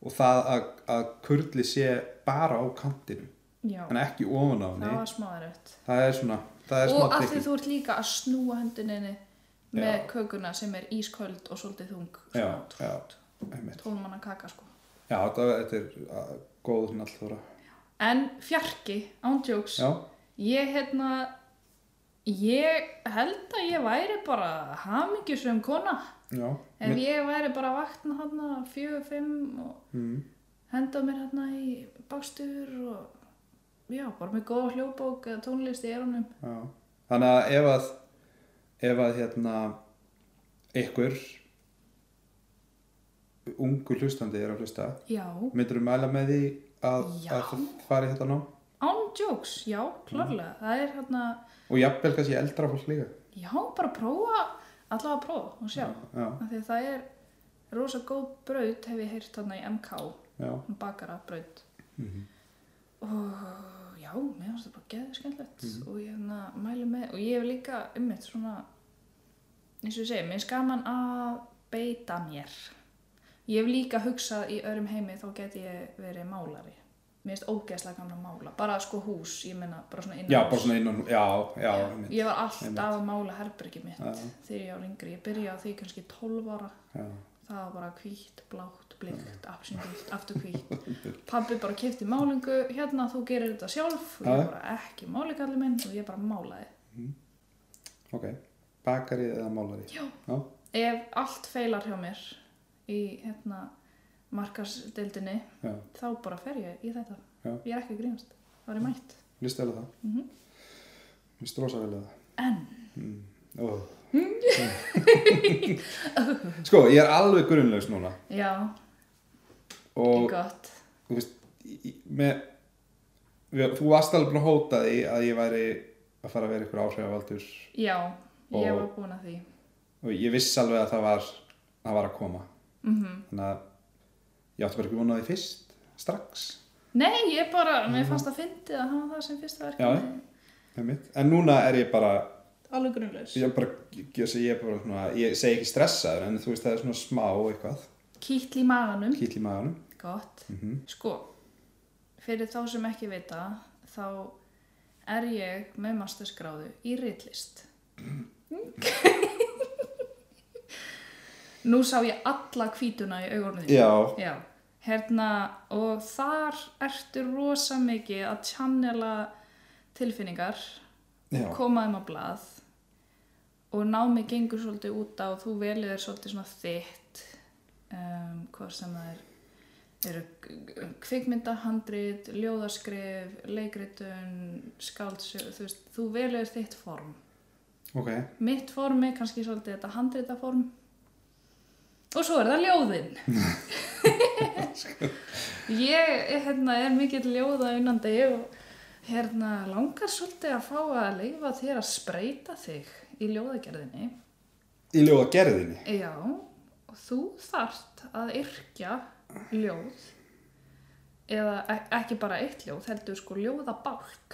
og það að, að kurli sé bara á kantinum já en ekki ofan á það henni. var smáður öll Það er svona, það er Og svona af því þú ert líka að snúa henduninni með kökuna sem er ísköld og svolítið þung Já, svona já, einmitt. tólmanna kaka, sko Já, þetta, þetta er að, góð nallþóra. En fjarki, ándjóks Já, Ég hérna ég held að ég væri bara hamingjusum kona já. ef ég væri bara að vakna hérna fjögur, fimm og Mm. henda mér hérna í bakstur og já, bara með góða hljóðbók eða tónlist í erunum Já. Þannig að ef að ef að hérna ykkur ungu hlustandi er að hlusta Já, myndur þú mæla með því að, Já. að það fari hérna þetta nám? án jokes, já, klárlega það er hérna, og jafnvel kannski eldra fólk líka já, bara prófa allavega prófa og sjá já, af því að það er rosa góð braut hef ég heyrt þarna í MK já, bakara braut Mhm. og já, mér finnst það bara geður skemmtilegt Mhm. og ég hérna mælu með og ég hef líka ummitt svona eins og ég segi, mér finnst gaman að beita mér ég hef líka hugsað í öðrum heimi þá get ég verið málari mér finnst ógeðslega gaman að mála bara sko hús, ég meina bara svona innan já bara svona innan já, já, einmitt. ég var einmitt. alltaf að mála herbergi mitt Já. þegar ég var yngri, ég byrjaði á því kannski 12 ára já, það var bara hvítt, blátt, blikt, apsingult, aftur hvítt. Pabbi bara kefti málingu, hérna þú gerir þetta sjálf og ég Já. var bara ekki málikalli minn og ég bara málaði. ok bakari eða málari Já. já, Ef allt feilar hjá mér í hérna markarsdeildinni já, þá bara fer ég í þetta. Já. Ég er ekki að grínast, það var ég mætt. líst vel að það Mm mér strósa vel að það En, mm. Mhm. oh. [LAUGHS] sko, ég er alveg grunnlegs núna já, og er gott. þú veist í- í- með, við, þú varst alveg búin að hóta því að ég væri að fara að vera ykkur áhrifavaldur Já, ég Og- var búin að því. og ég vissi alveg að það var það var að koma Mm þannig að ég átti bara ekki vona því fyrst strax Nei, ég bara, mér fannst að fyndið að hafa það sem fyrsta verkefni. einmitt. en núna er ég bara Alveg grunnlaus. ég, er bara, ég, ég, segi- ég, er bara svona, ég segi ekki stressaður en þú veist það er svona smá eitthvað Kýtl í maganum, kýll í maðurum gott. mm -hmm. Sko, fyrir þá sem ekki vita, þá er ég með mastersgráðu í ritlist. Nú sá ég alla hvítuna í augunum þínu. já, Já. Hérna, og þar ertu rosa mikið að tjannela tilfinningar, já, koma þeim á blað og námið gengur svolítið út á, þú velið er svolítið svona þitt, um, hvað sem það er eru kvikmyndahandrit, ljóðaskrif, leikritun, skáldsög, þú veist, þú velur þitt form. ok Mitt form er kannski svolítið þetta handritaform og svo er það ljóðin. ég hérna, er mikill ljóða unnandi og hérna, langar svolítið að fá að leifa þér að spreita þig í ljóðagerðinni. í ljóða gerðinni Já, og þú þart að yrkja ljóð eða ek- ekki bara eitt ljóð, heldur sko ljóðabálk.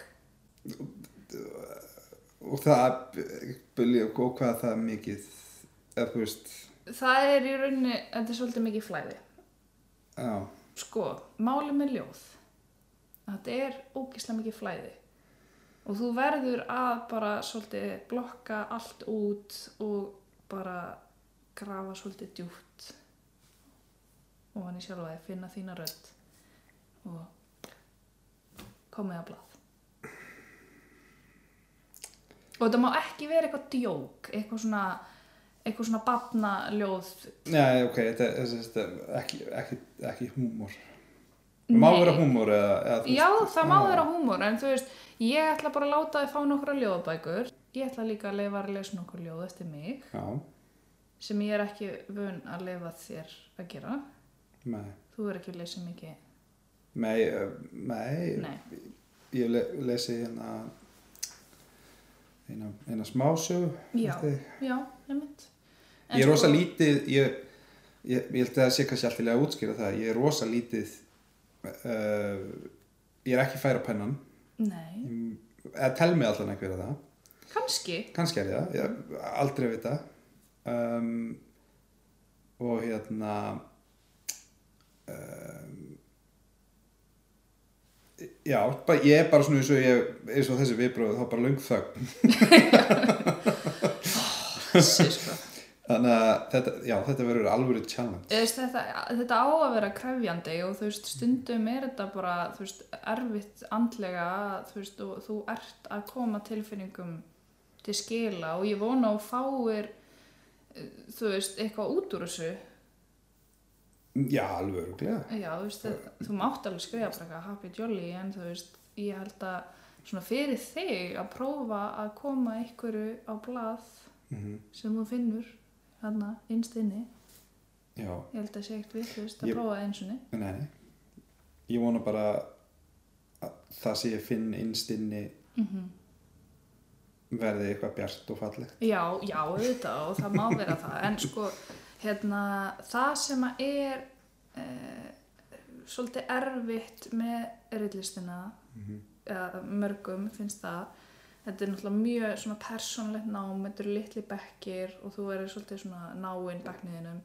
og það eh, og hvað það er mikið eða þú veist Það er í rauninni, þetta er svolítið mikið flæði. já, Sko, máli með ljóð, þetta er ógislega mikið flæði og þú verður að bara svolítið blokka allt út og bara grafa svolítið djúpt og hann í sjálfa að finna þína rödd og komið að blað. Og þetta má ekki vera eitthvað djók, eitthvað svona, eitthvað svona batna já ok þetta er þetta, þetta, ekki, ekki, ekki húmor Nei. má vera húmor eða, eða, þú Já, veist- það má Já. vera húmor, en þú veist, ég ætla bara að láta þið fá nokkra ljóðbækur. Ég ætla líka að leifa að lesa nokkur ljóð eftir mig, já, sem ég er ekki vun að leifa þér að gera. nei Þú er ekki að lesa mikið, Nei, eh, nei, nei. ég le lesi hérna eina, eina smásögu Já. eftir þig. Já, einmitt. En Ég er sko- rosa lítið ég, ég, ég held að það sé kannski alltilega að útskýra það ég er rosa lítið uh, ég er ekki færa pennan Nei, Ég- eða tel mig allan ekki verið það kannski. kannski er ég það, ég aldrei veit það um, og hérna um, já, bara, ég er bara svona eins og, ég, eins og þessi viðbröð þá bara löng þögn Þessi, sko. þannig að þetta, já, þetta verður alvöru challenge Þú veist, þetta, þetta á að vera krefjandi og þú veist, stundum er þetta bara, þú veist, erfitt andlega, þú veist, og þú ert að koma tilfinningum til skila og ég vona og fáir, eh, þú veist, eitthvað út úr þessu. já, alveg öruglega Já, þú veist, þetta, þú mátt alveg skrifa bara eitthvað happy jolly, en þú veist, ég held að svona fyrir þig að prófa að koma einhverju á blað mm sem þú finnur, hérna, innst inni, já, ég held að sé ekkert við, þú veist, að Ég- prófa það eins og niður. nei, nei ég vona bara að það sem ég finn innstinni mm verði eitthvað bjart og fallegt Já, já, auðvitað og það má vera það en sko, hérna það sem að er e, svolítið erfitt með rillistina eða mörgum finnst það þetta er náttúrulega mjög svona persónlegt nám þetta eru litli bekkir og þú verður svolítið svona náinn bekkniðinum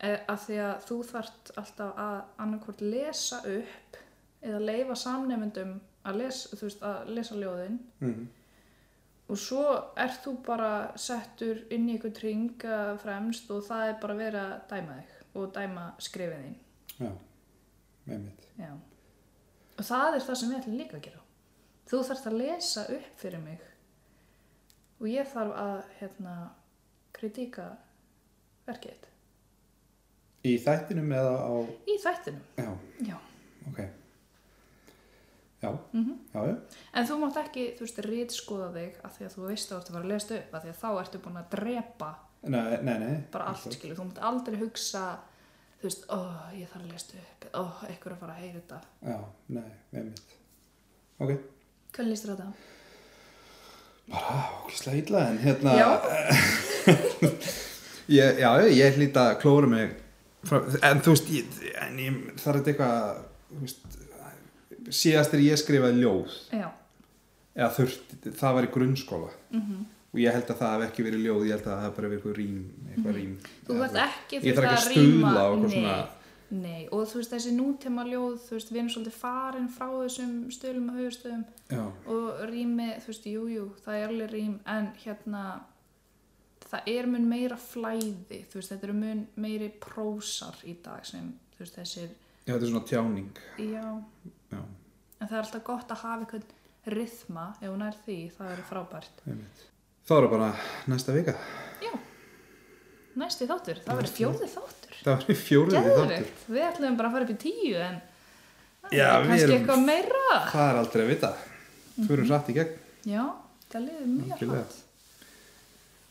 e, að því að þú þart alltaf að annarkvort lesa upp eða leifa samnefndum að lesa, þú veist, að lesa ljóðin mm. og svo ert þú bara settur inn í einhvern ring eh, fremst og það er bara verið að dæma þig og dæma skrifin þín Já, með mitt Já. og það er það sem við ætlum líka að gera þú þarft að lesa upp fyrir mig og ég þarf að hérna kritíka verkið þitt. Í þættinum eða á í þættinum Já, Já. ok Já, Mhm. já, já en þú mátt ekki, þú veist, rítskoða þig af því að þú veist að þú ert að fara að lesa upp af því að þá ertu búin að drepa Nei, nei, nei bara allt, skilur, þú mátt aldrei hugsa þú veist, ó, ég þarf að lesa upp ó, einhver er að fara að heyra þetta Já, nei, með mitt Ok, hvernig líst þér á þetta? bara okkislega illa en hérna Já. [LAUGHS] ég, Já, ég hlýt að klóra mig frá, En þú veist, ég, en ég þarf þetta eitthvað þú veist, síðast er ég skrifaði ljóð Já, eða þurft, það var í grunnskóla mhm og ég held að það hef ekki verið ljóð ég held að það hef bara verið eitthvað rím, eitthvað rím Mhm. þú Eða verð ekki ég þarf veist, ekki að stuðla ríma- á eitthvað nei, svona- nei, og þú veist þessi nútema ljóð þú veist, við erum svolítið farin frá þessum stöðlum og höfustöðum Já, og rými, þú veist, jújú, jú, það er alveg rím en hérna það er mun meira flæði þú veist, þetta eru mun meiri prósar í dag sem, þú veist, þessir já, þetta er svona tjáning já, Já, en það er alltaf gott að hafa eitthvað rithma, ef hún er því, það er frábært einmitt Þá er það bara næsta vika já, næsti þáttur það verður fjórði þáttur Það var í fjóruði þáttur Geðvikt, við ætlum bara að fara upp í tíu en það Já, er við kannski erum- eitthvað meira Það er aldrei að vita Mhm. Fyrir rætt í gegn Já, það liður mjög Algjörlega. hratt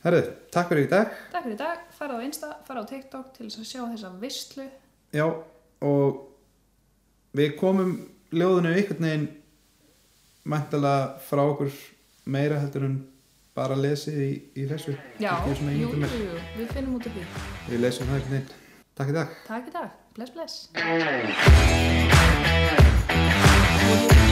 Herðu, takk fyrir í dag Takk fyrir í dag, fara á Insta, fara á TikTok til þess að sjá þessa vistlu Já, og við komum ljóðinu einhvern veginn mæntalega frá okkur meira heldur en bara lesið í, í þessu Já, Ekki svona jú, ímyndun jú, mér. jú, við finnum út af því Við lesum það einhvern veginn Takk í dag Takk í dag, bless bless